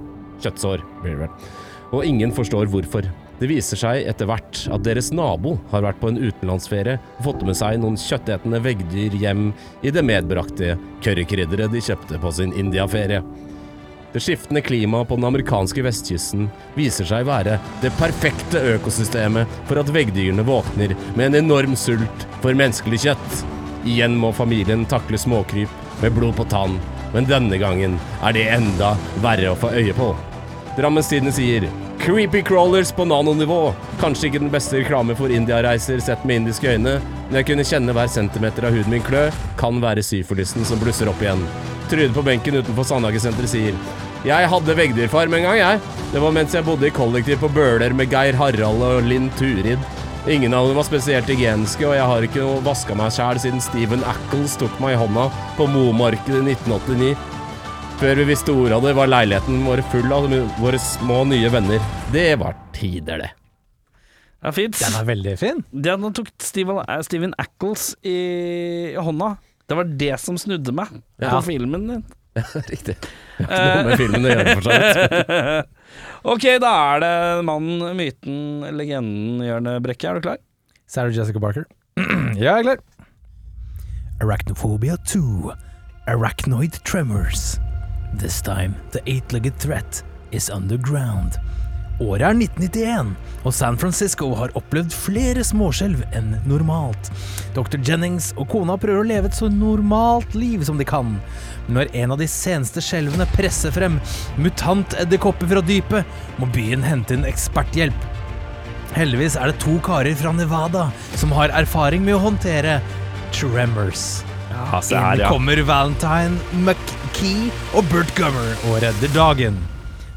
[SPEAKER 1] Kjøttsår, blir det vel. Og ingen forstår hvorfor. Det viser seg etter hvert at deres nabo har vært på en utenlandsferie og fått med seg noen kjøttetende veggdyr hjem i det medbrakte currykrydderet de kjøpte på sin India-ferie. Det skiftende klimaet på den amerikanske vestkysten viser seg være det perfekte økosystemet for at veggdyrene våkner med en enorm sult for menneskelig kjøtt. Igjen må familien takle småkryp med blod på tann, men denne gangen er det enda verre å få øye på. Drammens Tidende sier Creepy crawlers på nanonivå. Kanskje ikke den beste reklame for indiareiser sett med indiske øyne, men jeg kunne kjenne hver centimeter av huden min klø. Kan være syfilisen som blusser opp igjen. Trude på benken utenfor Sandhagesenteret sier Jeg hadde veggdyrfarm en gang, jeg. Det var mens jeg bodde i kollektiv på Bøler med Geir Harald og Linn Turid. Ingen av dem var spesielt hygieniske, og jeg har ikke vaska meg sjæl siden Steven Ackles tok meg i hånda på Momarkedet i 1989. Før vi visste ordet av det, var leiligheten vår full av våre små nye venner. Det var tider, det.
[SPEAKER 2] Det er fint.
[SPEAKER 3] Den er veldig fin.
[SPEAKER 2] Det at han tok Steven, eh, Steven Ackles i hånda, det var det som snudde meg på
[SPEAKER 1] Ja.
[SPEAKER 2] filmen din.
[SPEAKER 1] Riktig. [LAUGHS] Det har ikke noe med filmen å gjøre, for så vidt.
[SPEAKER 2] [LAUGHS] ok, da er det mannen, myten, legenden Jørn Brekke. Er du klar? [LAUGHS]
[SPEAKER 3] Sarah Jessica Barker. [CLEARS THROAT] ja, jeg er klar. Arachnophobia 2. Arachnoid tremors. This time the eight-legged threat is underground. Året er 1991, og San Francisco har opplevd flere småskjelv enn normalt. Dr. Jennings og kona prøver å leve et så normalt liv som de kan. Men når en av de seneste skjelvene presser frem mutantedderkopper fra dypet, må byen hente inn eksperthjelp. Heldigvis er det to karer fra Nevada som har erfaring med å håndtere tremors. Inn kommer Valentine McKee og Bert Gummer og redder dagen.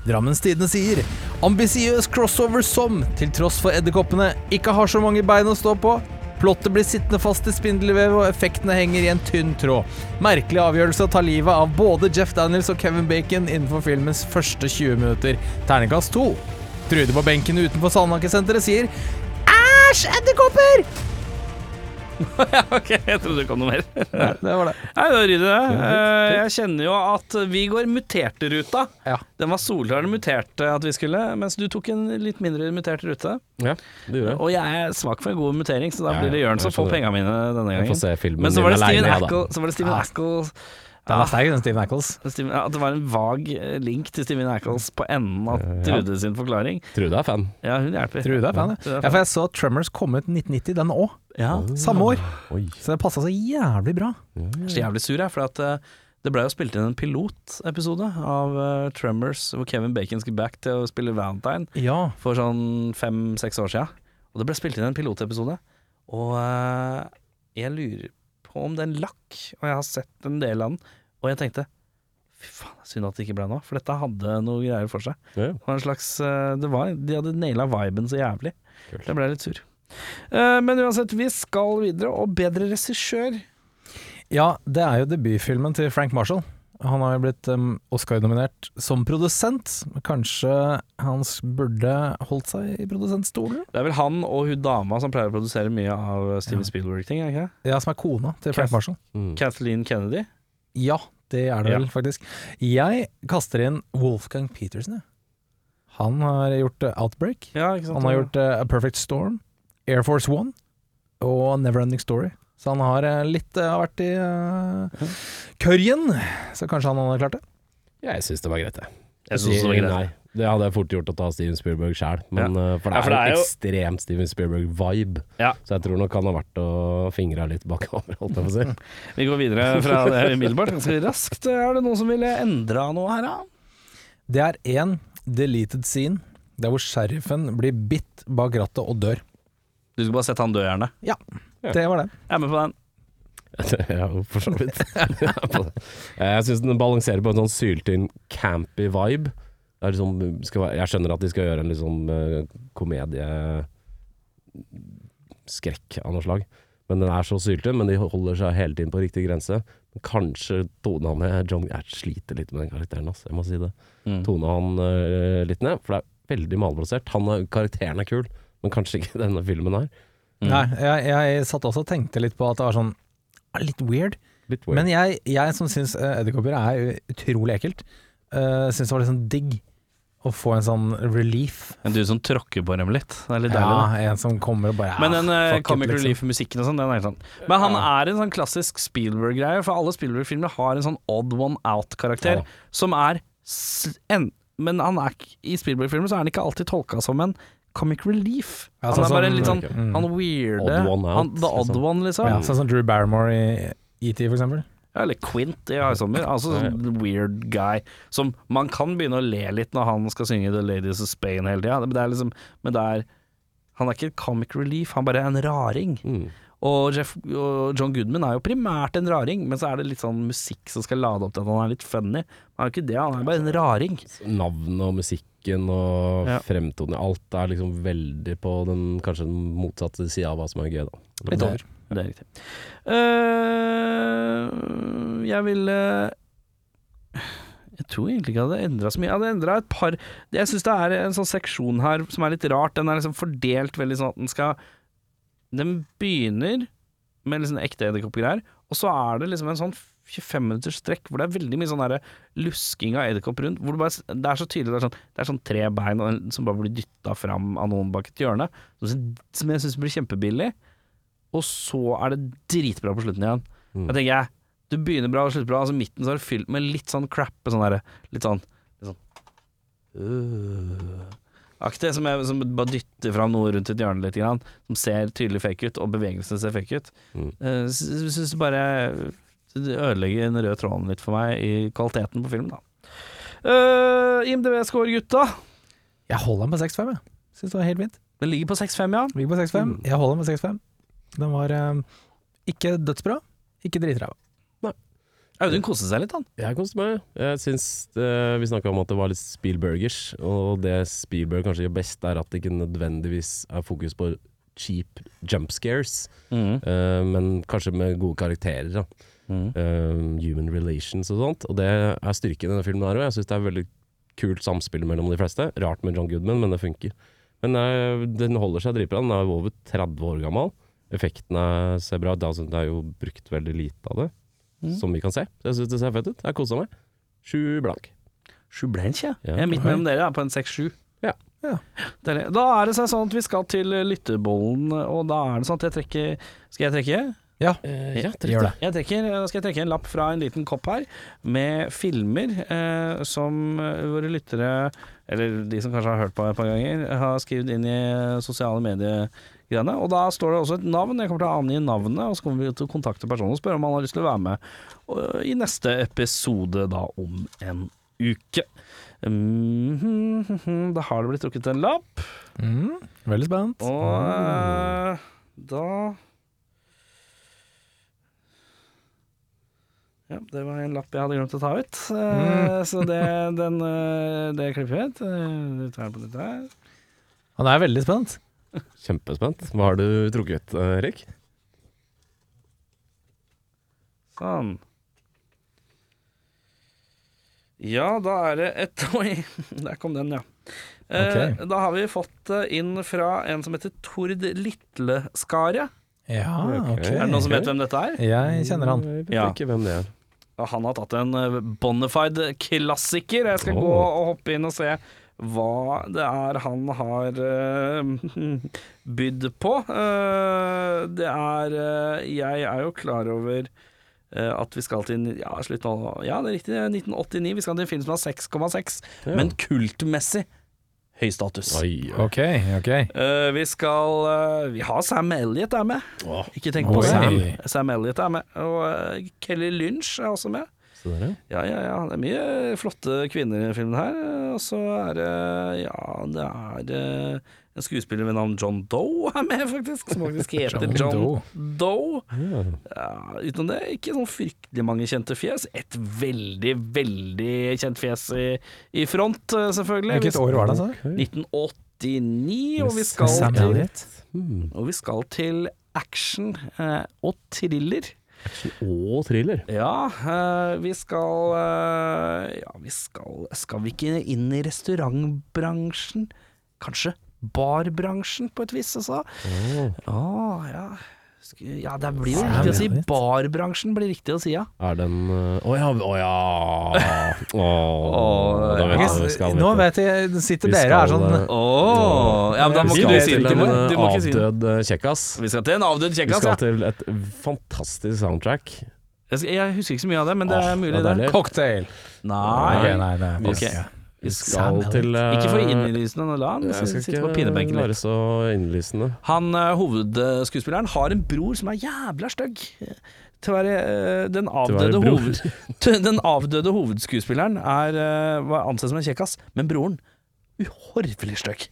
[SPEAKER 3] Drammens Tidende sier ambisiøs crossover som, til tross for edderkoppene, ikke har så mange bein å stå på. Plottet blir sittende fast i spindelvev, og effektene henger i en tynn tråd. Merkelig avgjørelse å ta livet av både Jeff Daniels og Kevin Bacon innenfor filmens første 20 minutter. Terningkast 2. Trude på benken utenfor Sandhagesenteret sier Æsj, edderkopper!
[SPEAKER 2] ok, jeg trodde det kom noe mer. [LAUGHS]
[SPEAKER 3] Nei, det var det.
[SPEAKER 2] Nei, det var ryddig, det. Eh, jeg kjenner jo at vi går muterte ruta.
[SPEAKER 3] Ja.
[SPEAKER 2] Den var solklar den muterte at vi skulle, mens du tok en litt mindre mutert rute.
[SPEAKER 1] Ja, det gjorde jeg.
[SPEAKER 2] Og jeg er svak for en god mutering, så da
[SPEAKER 1] Ja,
[SPEAKER 2] blir det
[SPEAKER 1] ja,
[SPEAKER 2] Jørn som
[SPEAKER 1] jeg
[SPEAKER 2] får
[SPEAKER 1] skjønner.
[SPEAKER 2] penga mine denne
[SPEAKER 1] Jeg får
[SPEAKER 2] gangen.
[SPEAKER 1] se filmen
[SPEAKER 2] Men så var det
[SPEAKER 1] din
[SPEAKER 2] Steven
[SPEAKER 1] alene, ja, da. Ah.
[SPEAKER 2] Ackle, så var det Steven Ackles
[SPEAKER 3] Den er sterk, den Steve Nichols.
[SPEAKER 2] Steven, at det var en vag eh, link til Steven Nichols på enden av Trude sin forklaring.
[SPEAKER 1] Trude er fan.
[SPEAKER 2] Ja, hun hjelper.
[SPEAKER 3] Tror du det er fan, ja. ja, for jeg så at Tremors kom ut 1990, den òg.
[SPEAKER 2] Ja.
[SPEAKER 3] Samme år.
[SPEAKER 1] Oi.
[SPEAKER 3] Så det passa så jævlig bra.
[SPEAKER 2] Jeg er så jævlig sur, jeg, for at eh, det ble jo spilt inn en pilotepisode av eh, Tremors hvor Kevin Bacon skulle back til å spille Valentine
[SPEAKER 3] Ja.
[SPEAKER 2] for sånn fem-seks år siden. Og det ble spilt inn en pilotepisode, og eh, jeg lurer på om den lakk, og jeg har sett en del av den, og jeg tenkte Fy faen, synd at det ikke ble noe, for dette hadde noe greier for seg.
[SPEAKER 1] Ja, ja.
[SPEAKER 2] Det var en slags eh, det var, De hadde naila viben så jævlig.
[SPEAKER 1] Kult.
[SPEAKER 2] Jeg ble litt sur. Eh, Men uansett, vi skal videre, og bedre regissør
[SPEAKER 3] Ja, det er jo debutfilmen til Frank Marshall. Han har jo blitt em, Oscar-nominert som produsent. Kanskje han s- burde holdt seg i produsentstolen?
[SPEAKER 2] Det er vel han og hun dama som pleier å produsere mye av Steven Spielberg-ting, er det ikke det?
[SPEAKER 3] Ja, som er kona til Frank
[SPEAKER 2] Kath-
[SPEAKER 3] Marshall.
[SPEAKER 1] Mm.
[SPEAKER 2] Kathleen Kennedy.
[SPEAKER 3] Ja, det er det
[SPEAKER 2] Ja.
[SPEAKER 3] vel, faktisk. Jeg kaster inn Wolfgang Petersen, jeg. Han har gjort eh, Outbreak.
[SPEAKER 2] Ja, ikke sant?
[SPEAKER 3] Han har gjort eh, A Perfect Storm, Air Force One og Neverending Story. Så han har eh, litt eh, har vært i uh, kørjen, så kanskje han hadde klart det.
[SPEAKER 1] Jeg syns det var greit, jeg.
[SPEAKER 2] Jeg synes det var greit.
[SPEAKER 1] Nei, det hadde jeg fort gjort å ta Steven Spielberg sjæl, men eh, for det
[SPEAKER 2] Ja,
[SPEAKER 1] er,
[SPEAKER 2] for det er
[SPEAKER 1] jo
[SPEAKER 2] jo-
[SPEAKER 1] ekstremt Steven Spielberg-vibe.
[SPEAKER 2] Ja.
[SPEAKER 1] Så jeg tror nok han har vært og fingra litt bakover, [LAUGHS] holdt jeg på å si.
[SPEAKER 2] Vi går videre fra det umiddelbart, ganske raskt. Er det noen som ville endra noe her, da?
[SPEAKER 3] Det er én deleted scene der hvor sheriffen blir bitt bak rattet og dør.
[SPEAKER 2] Du skulle bare sett han dø, gjerne.
[SPEAKER 1] Ja.
[SPEAKER 3] Det var det.
[SPEAKER 2] Jeg er med på den.
[SPEAKER 1] [LAUGHS] ja, for så vidt. Eh, jeg syns den balanserer på en sånn syltynn, campy vibe. Det er liksom, skal, være- jeg skjønner at de skal gjøre en liksom eh, komedie mm, Skrekk av noe slag. Men den er så syltynn, men de holder seg hele tiden på riktig grense. Men kanskje tona med John Jeg sliter litt med den karakteren, ass. Jeg må si det. Tona han eh, litt ned, for det er veldig malplassert. Han er- Karakteren er kul, men kanskje ikke denne filmen her.
[SPEAKER 2] Mm.
[SPEAKER 3] Nei, jeg, jeg satt også og tenkte litt på at det var sånn ah, litt weird.
[SPEAKER 1] Litt weird.
[SPEAKER 3] Men jeg, jeg som syns eh, edderkopper er jo utrolig ekkelt, uh, syns det var litt sånn digg å få en sånn relief.
[SPEAKER 2] En du som tråkker på dem litt. Det er litt deilig. da.
[SPEAKER 3] Ja, en som kommer og bare
[SPEAKER 2] Men den
[SPEAKER 3] ah,
[SPEAKER 2] eh,
[SPEAKER 3] fuck it,
[SPEAKER 2] Comic
[SPEAKER 3] liksom.
[SPEAKER 2] Relief-musikken og sånn, den er helt sånn. Men han er en sånn klassisk Spielberg-greie, for alle Spielberg-filmer har en sånn odd one out-karakter,
[SPEAKER 1] Ja.
[SPEAKER 2] som er s- en, Men han er, ikke- i Spielberg-filmer så er han ikke alltid tolka som en comic relief.
[SPEAKER 3] Ja,
[SPEAKER 2] han
[SPEAKER 3] sånn
[SPEAKER 2] er bare
[SPEAKER 3] som-
[SPEAKER 2] en litt sånn
[SPEAKER 3] Mm.
[SPEAKER 2] Han weirde
[SPEAKER 1] Odd one out,
[SPEAKER 2] han, The odd
[SPEAKER 1] liksom.
[SPEAKER 2] one, liksom.
[SPEAKER 3] Ja,
[SPEAKER 2] Ja.
[SPEAKER 3] sånn som Drew Barrymore i ET, for eksempel.
[SPEAKER 2] Eller Quint i High Summer. Altså sånn weird guy som Man kan begynne å le litt når han skal synge The Ladies of Spain hele tida, men det er liksom Men det er Han er ikke comic relief, han bare er en raring.
[SPEAKER 1] Mm.
[SPEAKER 2] Og, Jeff, og John Goodman er jo primært en raring, men så er det litt sånn musikk som skal lade opp til at han er litt funny. Han er jo ikke det, han er bare en raring.
[SPEAKER 1] navnet og musikken og
[SPEAKER 2] Ja.
[SPEAKER 1] fremtonen Alt er liksom veldig på den kanskje den motsatte sida av hva som er gøy, da.
[SPEAKER 3] Litt over.
[SPEAKER 2] Det er riktig. Eh, jeg ville Jeg tror egentlig ikke jeg hadde endra så mye. Jeg hadde endra et par Jeg syns det er en sånn seksjon her som er litt rart. Den er liksom fordelt veldig sånn at den skal Den begynner med liksom ekte edderkoppgreier, og så er det liksom en sånn 25 minutters strekk hvor det er veldig mye sånn derre lusking av edderkopp rundt. Hvor det, bare, det er så tydelig det er sånn, det er sånn tre bein og en- som bare blir dytta fram av noen bak et hjørne, som som jeg syns blir kjempebillig og så er det dritbra på slutten igjen. Da tenker jeg, du begynner bra og slutter bra, altså midten så er det fylt med litt sånn crap, sånn der, litt sånn, litt sånn øh, Aktig, som, jeg, som bare dytter fram noe rundt et hjørne litt, grann, som ser tydelig fake ut, og bevegelsene ser fake ut.
[SPEAKER 1] Mm.
[SPEAKER 2] Eh, sy- sy- Syns det bare det ødelegger den røde tråden litt for meg i kvaliteten på filmen, da. Eh, IMDv-score, gutta.
[SPEAKER 3] Jeg holder den på 6-5, jeg. Syns det var helt fint.
[SPEAKER 2] Den ligger på 6-5, ja.
[SPEAKER 3] Vi gikk på 6-5.
[SPEAKER 1] Mm.
[SPEAKER 3] Jeg holder den på 6-5. Den var eh, ikke dødsbra, ikke dritræva.
[SPEAKER 2] Audun koste seg litt, han.
[SPEAKER 1] Jeg koste meg. Jeg syns eh, Vi snakka om at det var litt Spielbergers, og det Spielberg kanskje gjør best, er at det ikke nødvendigvis er fokus på cheap jump scares, eh, men kanskje med gode karakterer. da
[SPEAKER 2] Mm.
[SPEAKER 1] Eh, human relations og sånt. Og det er styrken i denne filmen her òg. Jeg syns det er veldig kult samspill mellom de fleste. Rart med John Goodman, men det funker. Men eh, den holder seg dritbra. Den er jo over 30 år gammel. Effektene ser bra ut. Det er altså- Det er jo brukt veldig lite av det, som vi kan se. Så jeg syns det ser fett ut. Jeg koser meg. Sju blank.
[SPEAKER 2] Sju blank, ja.
[SPEAKER 1] Ja.
[SPEAKER 2] Jeg er midt mellom dere, jeg er på en seks-sju.
[SPEAKER 1] Ja.
[SPEAKER 3] Ja.
[SPEAKER 2] Deilig. Da er det seg sånn at vi skal til lytterbollen, og da er det sånn at jeg trekker Skal jeg trekke?
[SPEAKER 3] Ja,
[SPEAKER 2] Eh,
[SPEAKER 1] Ja,
[SPEAKER 3] det gjør det.
[SPEAKER 2] Jeg trekker, da skal jeg trekke en lapp fra en liten kopp her, med filmer eh, som eh, våre lyttere, eller de som kanskje har hørt på et par ganger, har skrevet inn i eh, sosiale mediegreiene. Og da står det også et navn. Jeg kommer til å angi navnet, og så kommer vi til å kontakte personen og spørre om han har lyst til å være med og, i neste episode, da om en uke. Mhm, Da har det blitt trukket en lapp.
[SPEAKER 3] Mm, veldig spent.
[SPEAKER 2] Og eh, da Ja, det var en lapp jeg hadde glemt å ta ut. eh, Så det, den, eh, det klipper vi ut. Eh, Vi tar på det der.
[SPEAKER 3] Han er veldig spent.
[SPEAKER 1] Kjempespent. Hva har du trukket, eh, Erik?
[SPEAKER 2] Sånn. Ja, da er det et [LAUGHS] Oi, der kom den, ja. Eh, Da har vi fått eh, inn fra en som heter Tord Litleskaret.
[SPEAKER 3] Ja,
[SPEAKER 1] Ok.
[SPEAKER 3] ok.
[SPEAKER 2] Er det noen som
[SPEAKER 1] Ok.
[SPEAKER 2] vet hvem dette er?
[SPEAKER 3] Jeg kjenner han.
[SPEAKER 1] Jeg vet
[SPEAKER 2] Ja.
[SPEAKER 1] ikke hvem det er.
[SPEAKER 2] Ja, Han har tatt en eh, bonafide klassiker. Jeg skal
[SPEAKER 1] Åh.
[SPEAKER 2] gå og hoppe inn og se hva det er han har eh, [LAUGHS] bydd på. Eh, det er eh, Jeg er jo klar over eh, at vi skal til Ja, slutt nå. Ja, det er riktig. det er 1989. Vi skal til en film som har 6,6,
[SPEAKER 1] Ja.
[SPEAKER 2] men kultmessig høy status.
[SPEAKER 1] Oi, oi.
[SPEAKER 3] Ok, ok.
[SPEAKER 2] Eh, vi skal eh, Vi har Sam Elliot er med.
[SPEAKER 1] Åh,
[SPEAKER 2] Ikke tenk på
[SPEAKER 3] Oi.
[SPEAKER 2] Sam. Sam Elliot er med. Og eh, Kelly Lynch er også med.
[SPEAKER 1] se der,
[SPEAKER 2] Ja,
[SPEAKER 1] ja.
[SPEAKER 2] ja, ja. Det er mye flotte kvinner i den filmen her. Og så er det Ja, det er eh, en skuespiller ved navn John Doe er med, faktisk. Som faktisk heter
[SPEAKER 3] John
[SPEAKER 2] John
[SPEAKER 3] Doe.
[SPEAKER 2] Doe.
[SPEAKER 1] ja.
[SPEAKER 2] Ja, utenom det, ikke sånn fryktelig mange kjente fjes. Et veldig, veldig kjent fjes i, i front, eh, selvfølgelig.
[SPEAKER 3] Hvilket år var det, altså?
[SPEAKER 1] Ok.
[SPEAKER 2] 1989, og vi skal
[SPEAKER 3] Sam
[SPEAKER 2] til
[SPEAKER 3] Elliott.
[SPEAKER 1] Hmm.
[SPEAKER 2] Og vi skal til action eh, og thriller.
[SPEAKER 1] Og thriller.
[SPEAKER 2] Ja, eh, vi skal eh, Ja, vi skal Skal vi ikke inn i restaurantbransjen? Kanskje barbransjen, på et vis, altså?
[SPEAKER 1] Åh.
[SPEAKER 2] Å, ja. Sk- ja, det blir jo
[SPEAKER 3] Særlig
[SPEAKER 2] riktig å si.
[SPEAKER 3] litt.
[SPEAKER 2] Barbransjen blir riktig å si, ja.
[SPEAKER 1] Er den eh, Å ja! Å ja!
[SPEAKER 2] Åh,
[SPEAKER 1] Åh, da vet jeg hva vi skal
[SPEAKER 3] Nå
[SPEAKER 1] vite.
[SPEAKER 3] vet jeg, sitter
[SPEAKER 1] Vi
[SPEAKER 3] dere her
[SPEAKER 1] skal,
[SPEAKER 3] sånn
[SPEAKER 1] eh,
[SPEAKER 2] Oh, ja, men da må
[SPEAKER 1] Vi
[SPEAKER 2] ikke
[SPEAKER 1] skal
[SPEAKER 2] du si
[SPEAKER 1] til
[SPEAKER 2] det til
[SPEAKER 1] en
[SPEAKER 2] meg. Du må
[SPEAKER 1] eh,
[SPEAKER 2] ikke si det.
[SPEAKER 1] avdød eh, kjekkas.
[SPEAKER 2] Vi skal til en avdød
[SPEAKER 1] Vi
[SPEAKER 2] kjekkas,
[SPEAKER 1] skal
[SPEAKER 2] ja.
[SPEAKER 1] til et fantastisk soundtrack.
[SPEAKER 2] Jeg skal- Jeg husker ikke så mye av det, men det
[SPEAKER 1] Åh,
[SPEAKER 2] er mulig,
[SPEAKER 1] det er
[SPEAKER 2] det.
[SPEAKER 1] deilig.
[SPEAKER 3] Cocktail.
[SPEAKER 2] Nei.
[SPEAKER 3] Ok, nei, nei.
[SPEAKER 2] Ok.
[SPEAKER 1] Vi
[SPEAKER 3] Sam
[SPEAKER 1] skal
[SPEAKER 3] Elliott.
[SPEAKER 1] til eh,
[SPEAKER 2] Ikke for innlysende, nå, la han
[SPEAKER 1] Jeg skal
[SPEAKER 2] sitte på
[SPEAKER 1] ikke
[SPEAKER 2] pinebenken liksom. litt.
[SPEAKER 1] være så innlysende.
[SPEAKER 2] Han eh, hovedskuespilleren har en bror som er jævla stygg. Til å være eh, den avdøde,
[SPEAKER 1] bror.
[SPEAKER 2] hoved, [LAUGHS] den avdøde hovedskuespilleren er eh, var ansett som en kjekkas, men broren uhorvelig stygg.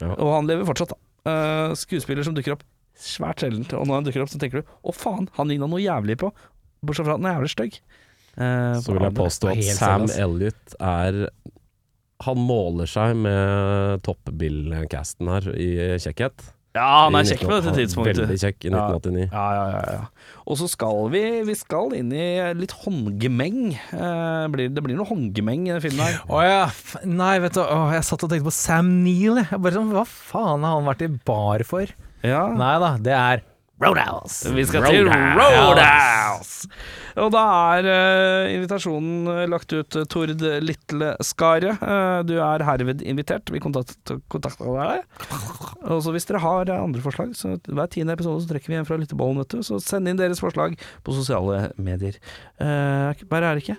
[SPEAKER 1] Ja.
[SPEAKER 2] Og han lever fortsatt. Eh, skuespiller som dukker opp svært sjelden, og når han dukker opp, så tenker du å faen, han ligna noe jævlig på, bortsett fra at han er jævlig stygg. Eh,
[SPEAKER 1] Så vil jeg påstå at Sam Elliot er Han måler seg med toppbill-casten her i kjekkhet.
[SPEAKER 2] Ja, han er
[SPEAKER 1] I
[SPEAKER 2] kjekk på
[SPEAKER 1] 1980
[SPEAKER 2] dette tidspunktet.
[SPEAKER 1] Veldig kjekk i
[SPEAKER 2] Ja.
[SPEAKER 1] 1989.
[SPEAKER 2] Ja, ja, ja, ja. Og så skal vi, vi skal inn i litt håndgemeng. Eh, blir, det blir noe håndgemeng i den filmen her.
[SPEAKER 3] Å ja. f- Nei, vet du, å, jeg satt og tenkte på Sam Neill. jeg. Jeg bare sånn, Hva faen har han vært i bar for?
[SPEAKER 2] Ja.
[SPEAKER 3] Nei da, det er Roadhouse.
[SPEAKER 2] Vi skal til Roadhouse! Og da er eh, invitasjonen eh, lagt ut, eh, Tord Litleskaret. Eh, du er herved invitert. Vi kontakter kontakt deg. Og så hvis dere har eh, andre forslag, så hver tiende episode så trekker vi en fra lyttebollen, vet du. Så send inn deres forslag på sosiale medier. Uh, bare er det ikke.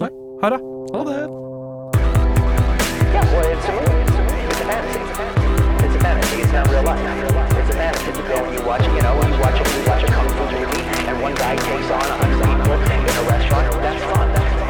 [SPEAKER 2] Nei. Ha det. Ha det.
[SPEAKER 7] Yeah, well, it's a movie. It's a movie. It's a fantasy. It's a fantasy. It's not real life. It's a fantasy. It's a film you watch, you know, you watch a, you watch a kung fu movie, and one guy takes on a hundred people in a restaurant. That's fun. That's fun.